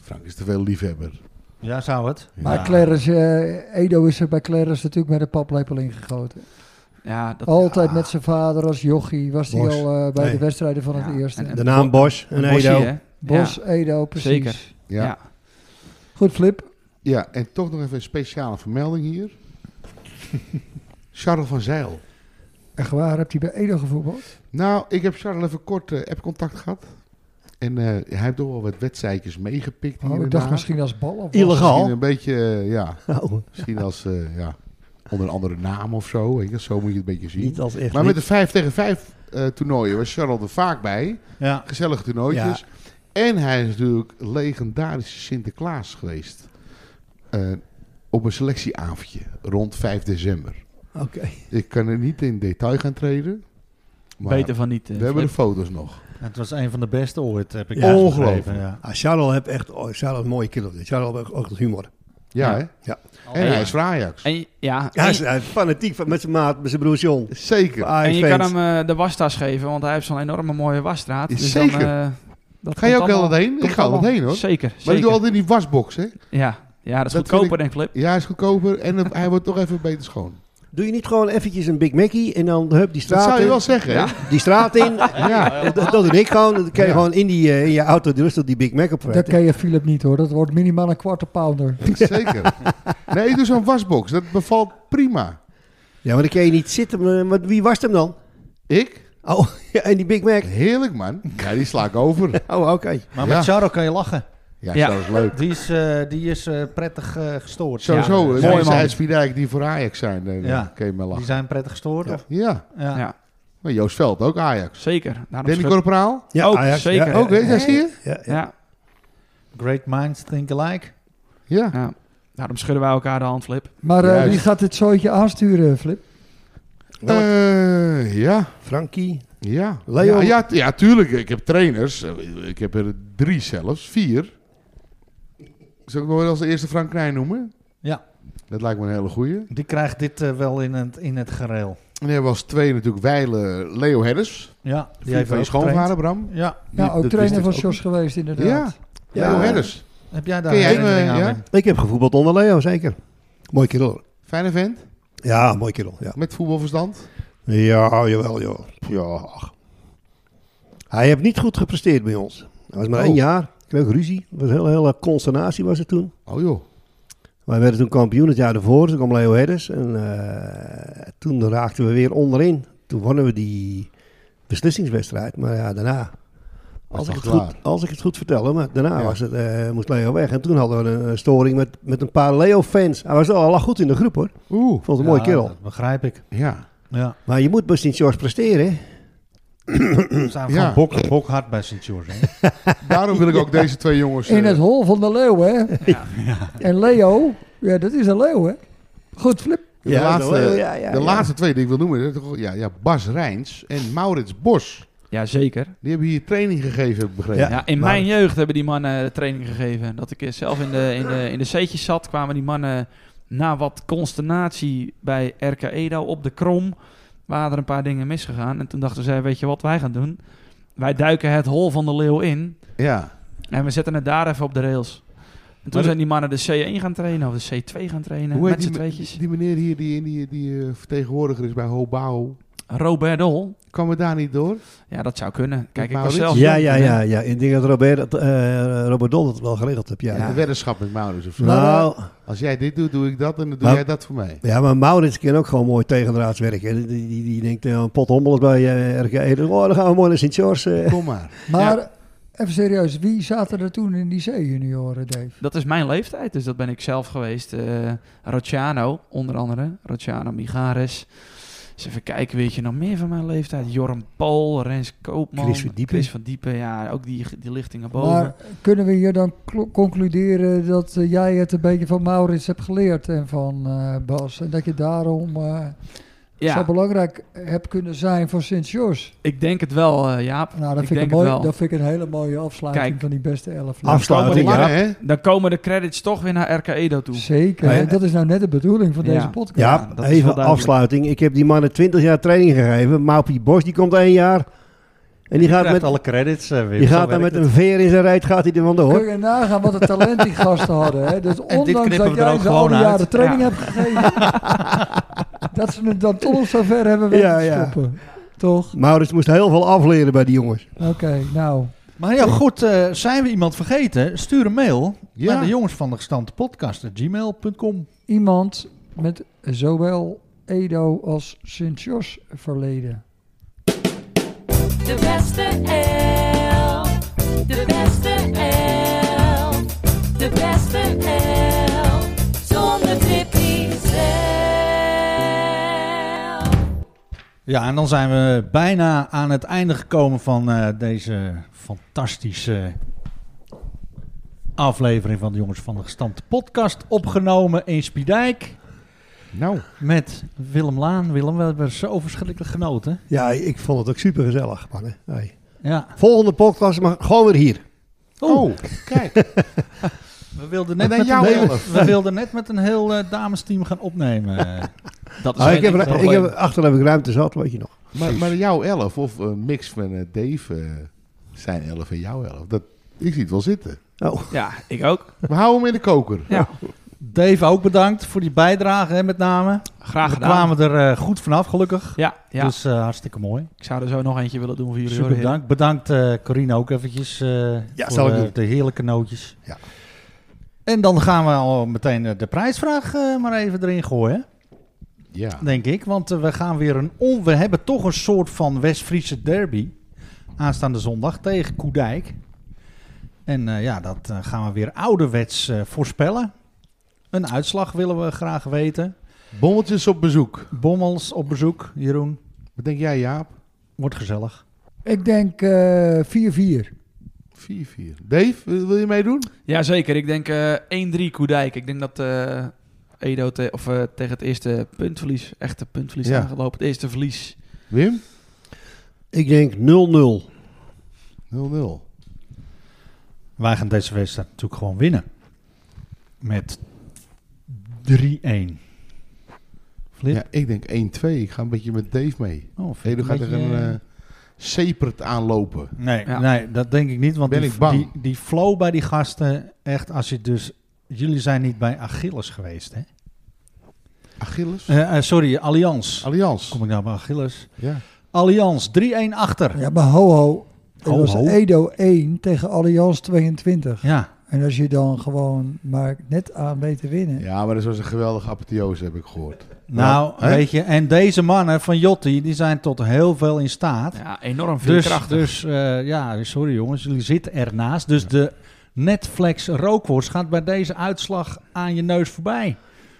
Frank is te veel liefhebber. Ja, zou het. Maar Ja. Clarence, eh, Edo is er bij Clarence natuurlijk met een paplepel ingegoten. Ja, dat, Altijd ja. met zijn vader als jochie was hij Bos. al eh, bij Nee. de wedstrijden van Ja, het eerste. en- en De naam Bosch en Bossie, Edo. hè? Bos, Ja, Edo, precies. Zeker. Ja. ja. Ja. Goed, Flip. en toch nog even een speciale vermelding hier. Charles van Zeil. Echt waar, hebt hij bij Edo gevoetbald? Nou, ik heb Charles even kort eh, appcontact gehad. En eh, hij heeft toch wel wat wedstrijdjes meegepikt hier Oh, en ik dacht daar. misschien als bal. Of Misschien Illegaal. een beetje, eh, ja, Oh, misschien als, eh, ja, onder een andere naam of zo. Weet je, zo moet je het een beetje zien. niet als echt. Maar met niet. eh, de 5 tegen 5 toernooien was Charles er vaak bij. Ja. Gezellige toernooitjes. En hij is natuurlijk legendarische Sinterklaas geweest. Eh, op een selectieavondje rond 5 december. Oké. Ik kan er niet in detail gaan treden. Maar Beter van niet. eh, we hebben de Flip. foto's nog. Het was een van de beste ooit, heb ik Ja. begrepen, Ongelooflijk. Ja. Ah, Charles heeft echt oh, Charles een mooie killer. Charles heeft ook- ook het humor. Ja, Ja. hè? Ja. En hij is voor Ajax. En, ja, Ja, hij is, en, hij is fanatiek van- met zijn maat, met zijn broer John. Zeker. Ah, en je vent. kan hem eh, de wastas geven, want hij heeft zo'n enorme mooie wasstraat. Is Dus Dan, zeker. eh, dat Ga je komt ook wel allemaal- heen? Ik komt ga wel allemaal- heen hoor. Zeker, Maar ik doe zeker. altijd in die wasbox, hè? Ja. ja, dat is Dat goedkoper vind denk Flip. Ja, hij is goedkoper en het- hij wordt toch even beter schoon. Doe je niet gewoon eventjes een Big Mackie en dan hup die Dat straat zou je in? wel zeggen, hè? Ja. Die straat in. ja. Dat, dat doe ik gewoon. Dan kan je Ja. gewoon in, die, eh, in je auto rustig die Big Mac op Dat ken je Philip niet hoor. Dat wordt minimaal een kwart pounder. Zeker. Nee, ik doe zo'n wasbox. Dat bevalt prima. Ja, maar dan kan je niet zitten. Maar, maar wie was hem dan? Ik? Oh, ja, en die Big Mac. Heerlijk, man. Ja, die sla ik over. Oh, oké. Maar Ja. met Charo kan je lachen. Ja, Ja. dat is leuk. Die is, eh, die is eh, prettig eh, gestoord. Sowieso. Ja. de Mooi mensen man. uit Spiedijk die voor Ajax zijn, eh, Ja. daar kun je mee Die lachen. zijn prettig gestoord. Ja. of? Ja. Ja. Ja. Maar Joost Veld, ook Ajax. Zeker. Daarom Danny schud- Corporaal? Ja, Ook, Ajax, zeker. ja. Ook, hè? Ja, zie je? Ja, ja. ja, Great minds think alike. Ja. ja. Daarom schudden wij elkaar de hand, Flip. Maar eh, Juist. wie gaat dit zooitje aansturen, Flip? Eh, ja. Frankie. Ja. Leo- Ja, ja, tu- ja, tuurlijk. Ik heb trainers. Eh, Ik heb er drie zelfs. Vier. Zal ik nog wel als de eerste Frank Krijn noemen? Ja. Dat lijkt me een hele goeie. En Die krijgt dit eh, wel in het, in het gereel. dan hebben we als twee natuurlijk Weile Leo Herders. Ja, die Die heeft heeft van je ook schoonvader, getraind. Bram. Ja, Die- Ja, Nou, ook dat trainer wist van ik ook Jos geweest inderdaad. Ja. Ja. Leo Herders. heb jij daar Ken jij hem? herinnering eh, aan? Ja? Wim? Ik heb gevoetbald onder Leo, zeker. Mooi kerel. hoor. Fijne vent. Ja, mooi kerel. Ja, Met voetbalverstand. ja jawel, joh. Ja. ach. Hij heeft niet goed gepresteerd bij ons. Hij was maar Oh. één jaar. Kreeg ruzie. Het was een hele, hele consternatie was het toen. Oh joh. Wij werden toen kampioen het jaar ervoor. Toen kwam Leo Herders. En eh, toen raakten we weer onderin. Toen wonnen we die beslissingswedstrijd. Maar ja, daarna... Als ik, het het klaar? goed, als ik het goed vertel, hè, maar daarna Ja. was het, eh, moest Leo weg. En toen hadden we een, eh, storing met, met een paar Leo-fans. Hij, was, wel- hij lag goed in de groep hoor. Oeh. Ik vond het een mooie Ja, kerel. Dat begrijp ik. Ja. Ja. Maar je moet bij Sint-George presteren. hè? We zijn Ja. gewoon bok, bokhard bij Sint-George. hè? Daarom wil ik ook deze twee jongens... In eh, het hol van de leeuw, hè? En Leo, ja, dat is een leeuw, hè? Goed, Flip. de Ja, laatste, wel, ja, ja, de ja. laatste twee die ik wil noemen. dat is toch- Ja, ja, Bas Rijns en Maurits Bos. Ja, zeker. Die hebben hier training gegeven, heb ik begrepen. Ja. Ja, in maar- mijn jeugd hebben die mannen eh, training gegeven. Dat ik eh, zelf in de, in de, in de C'tjes zat, kwamen die mannen na wat consternatie bij RK Edo op de krom. Waren er een paar dingen misgegaan. En toen dachten zij, weet je wat wij gaan doen? Wij duiken het hol van de leeuw in ja. en we zetten het daar even op de rails. En toen Maar zijn die mannen de C1 gaan trainen of de C2 gaan trainen. Hoe heet met die, z'n me- tweetjes. die meneer hier die, die, die eh, vertegenwoordiger is bij Hobau? Robert Dol. Kwam we daar niet door? Ja, dat zou kunnen. Kijk, ik was Maurits? zelf... Ja, jong ja, toen, hè. ja, ja. Ik denk dat Robert, dat, eh, Robert Dol dat wel geregeld heeft. Ja. En De weddenschap met Maurits of zo. Nou, Als jij dit doet, doe ik dat en dan doe Maar- jij dat voor mij. ja, maar Maurits kan ook gewoon mooi tegendraads werken. Die, die, die, die denkt, eh, een pot hommels bij eh, RK Edo. Oh, dan gaan we mooi naar Sint-George. eh. Kom maar. Maar even serieus, wie zaten er toen in die C-junioren, Dave? Dat is mijn leeftijd, dus dat ben ik zelf geweest. Eh Rociano, onder andere. Rociano Migares. Eens even kijken, weet je nog meer van mijn leeftijd? Jorm Paul, Rens Koopman. Chris van Diepen. Chris van Diepen, ja, ook die, die lichtingen boven. Maar kunnen we hier dan klo- concluderen dat eh, jij het een beetje van Maurits hebt geleerd en van eh, Bas? En dat je daarom eh, zo ja, belangrijk hebt kunnen zijn voor Sint-George? ik denk het wel, eh, Jaap. Nou, dat ik vind ik, denk een mooi, het wel. dat vind ik een hele mooie afsluiting Kijk. van die beste elf. Afsluiting, Lange, ja. hè? Dan komen de credits toch weer naar RK Edo toe. Zeker, Nee. en dat is nou net de bedoeling van Ja. deze podcast. Ja, dat is wel even duidelijk. afsluiting. Ik heb die mannen 20 jaar training gegeven. Maupie Bos, die komt één jaar. En die gaat, Krijgt met, alle credits, eh, Wim. die Zo gaat dan werkt met het. een veer in zijn rijt gaat hij er vandoor. Kun je nagaan wat een talent die gasten hadden. Hè? Dus ondanks knippen we dat er jij ook ze al die gewoon uit. jaren training Ja. hebt gegeven. dat ze het dan toch zover hebben weten Ja, te ja. stoppen. Toch? Maurits moest heel veel afleren bij die jongens. Oké, nou. Maar ja, goed, eh, zijn we iemand vergeten? Stuur een mail Ja. naar de jongens van de gestante podcast, gmail.com. Iemand met zowel Edo als Sint-Jos verleden. De beste elf. De beste elf. De beste elf. Zonder trippie zelf. Ja, en dan zijn we bijna aan het einde gekomen van eh, deze fantastische aflevering van de Jongens van de Gestampte podcast opgenomen in Spiedijk Nou, met Willem Laan. Willem, we hebben zo verschrikkelijk genoten. Ja, ik vond het ook super gezellig, man. hè. Hey. Ja. Volgende podcast, maar gewoon weer hier. Oeh, oh, kijk. we, wilden net En dan met een jou heel, elf. we wilden net met een heel eh, damesteam gaan opnemen. Nou, Dat is Ah, geen ik heb, enkel er- ik probleem. heb, achter heb ik ruimte zat, weet je nog. maar, maar jouw elf of een mix van eh, Dave, eh, zijn elf en jouw elf. Dat, ik zie het wel zitten. Oh, Ja, ik ook. We houden hem in de koker. Ja. Dave, ook bedankt voor die bijdrage hè, met name. Graag We gedaan. kwamen er eh, goed vanaf, gelukkig. Ja, ja. Dus eh, hartstikke mooi. ik zou er zo nog eentje willen doen voor jullie. Super hoor, heren. bedankt. Bedankt eh Corine ook eventjes eh, voor zal ik eh, doen. de heerlijke nootjes. Ja. En dan gaan we al meteen eh, de prijsvraag eh, maar even erin gooien, Ja. denk ik. Want eh, we gaan weer een on... We hebben toch een soort van West-Friese derby aanstaande zondag tegen Koedijk. En eh, ja, dat eh, gaan we weer ouderwets eh, voorspellen. Een uitslag willen we graag weten. Bommeltjes op bezoek. Bommels op bezoek, Jeroen. Wat denk jij, Jaap? 4-4. Wordt gezellig. Ik denk eh, 4-4. Dave, wil wil je meedoen? Jazeker, ik denk eh 1-3 Koedijk. Ik denk dat eh, Edo te- of, eh, tegen het eerste puntverlies, echte puntverlies Ja. aangelopen. Het eerste verlies. Wim? ik denk 0-0. 0-0. Wij gaan deze wedstrijd natuurlijk gewoon winnen. Met 3-1. Flip? Ja, ik denk 1-2. Ik ga een beetje met Dave mee. Oh, vind ik Edo een gaat er beetje, een eh, eh, sepert aanlopen. nee, Ja. nee, dat denk ik niet. Want Ben die, ik bang. Die, die flow bij die gasten, echt als je dus... Jullie zijn niet bij Achilles geweest, hè? Achilles? Eh, eh, sorry, Allianz. Allianz. Kom ik nou bij Achilles? Ja. Allianz, 3-1 achter. Ja, maar ho ho. Het Ho, was ho. Edo 1 tegen Allianz 22. Ja, En als je dan gewoon maar net aan weet te winnen. ja, maar dat was een geweldige apotheose, heb ik gehoord. nou, hè? weet je. En deze mannen van Jotti, die zijn tot heel veel in staat. Ja, enorm veel Dus, kracht. dus eh, ja, sorry jongens, jullie zitten ernaast. Dus de Netflix rookworst gaat bij deze uitslag aan je neus voorbij,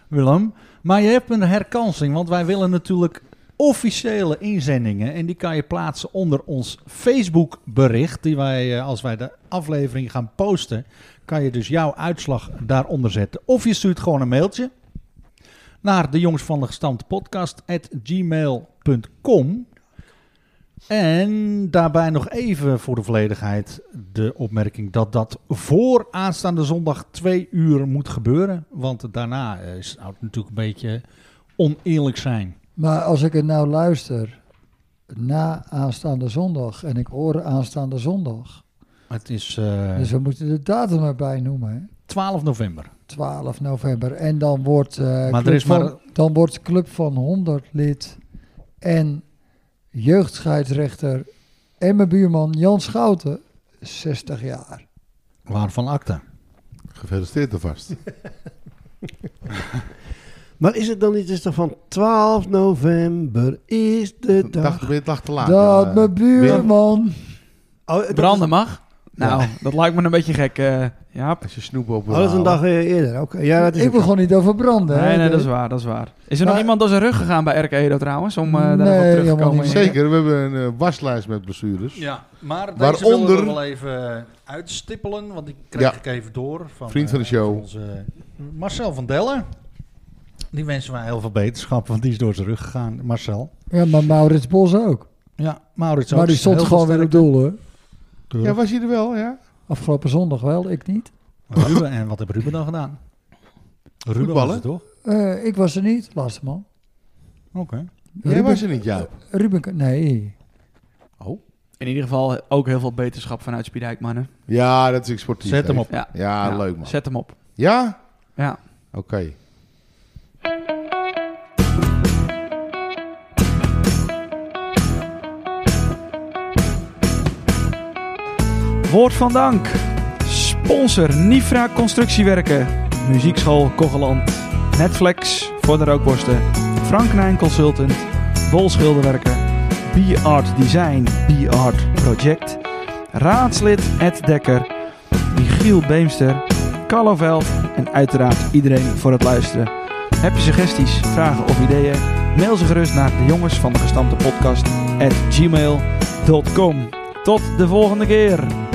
Willem. Maar je hebt een herkansing, want wij willen natuurlijk officiële inzendingen. En die kan je plaatsen onder ons Facebook bericht. Die wij, eh, als wij de aflevering gaan posten, kan je dus jouw uitslag daaronder zetten. Of je stuurt gewoon een mailtje naar de jongens van de gestampte podcast at gmail.com. En daarbij nog even voor de volledigheid de opmerking dat dat voor aanstaande zondag twee uur moet gebeuren. Want daarna eh, is zou het natuurlijk een beetje oneerlijk zijn. Maar als ik het nou luister na aanstaande zondag en ik hoor aanstaande zondag. Het is eh, Dus we moeten de datum erbij noemen. hè. 12 november. 12 november. En dan wordt, eh, er Club is maar- van, dan wordt Club van 100 lid en jeugdscheidsrechter en mijn buurman Jan Schouten 60 jaar. Waarvan akte? Gefeliciteerd alvast. Maar is het dan niet eens toch van 12 november is de dag... Dacht, ben je het lag te laat? Dat Ah, Ja, mijn buurman. Oh, dat is- Branden mag? Nou, dat lijkt me een beetje gek, eh Jaap. Als je snoep op Oh, dat is een dag eh, eerder. Oké, ja, dat is Ik ook zo. begon niet over branden. hè. Dus- Nee, nee, dat is waar, dat is waar. Is er nog Maar- iemand door zijn rug gegaan bij RK Edo trouwens, om eh Nee, daarop terug te helemaal komen? niet. Zeker, we hebben een eh, waslijst met blessures. Ja, maar deze Waaronder- willen we wel even uitstippelen, want die kreeg Ja. ik even door. Van, Vriend van de eh, show. onze Marcel van Dellen. Die wensen wij heel veel beterschap, want die is door zijn rug gegaan. Marcel. Ja, maar Maurits Bos ook. Ja, Maurits ook. maar die stond Heel gewoon veel weer op doel hoor. Ja, was je er wel, ja? Afgelopen zondag wel, ik niet. sterkte. Ruben, en wat heeft Ruben dan gedaan? Ruben was Voetballen? het, toch? Eh, ik was er niet, laatste man. Oké. Jij Ruben- was er niet, Jaap. Ruben, K- nee. In ieder geval ook heel veel beterschap vanuit Spiedijk, mannen. Ja, dat is ik sportief. Zet hem Dave. op. Ja, Ja, Ja, Ah, leuk man. Zet hem op. Ja? Ja. Oké. Woord van dank. Sponsor Nifra Constructiewerken. Muziekschool Kogeland. Netflix voor de rookborsten. Frank Nijn Consultant. Bol Schilderwerken. B-Art Design. B-Art Project. Raadslid Ed Dekker. Michiel Beemster. Carlo Veld. En uiteraard iedereen voor het luisteren. Heb je suggesties, vragen of ideeën? Mail ze gerust naar de jongens van de gestampte podcast at gmail.com. Tot de volgende keer.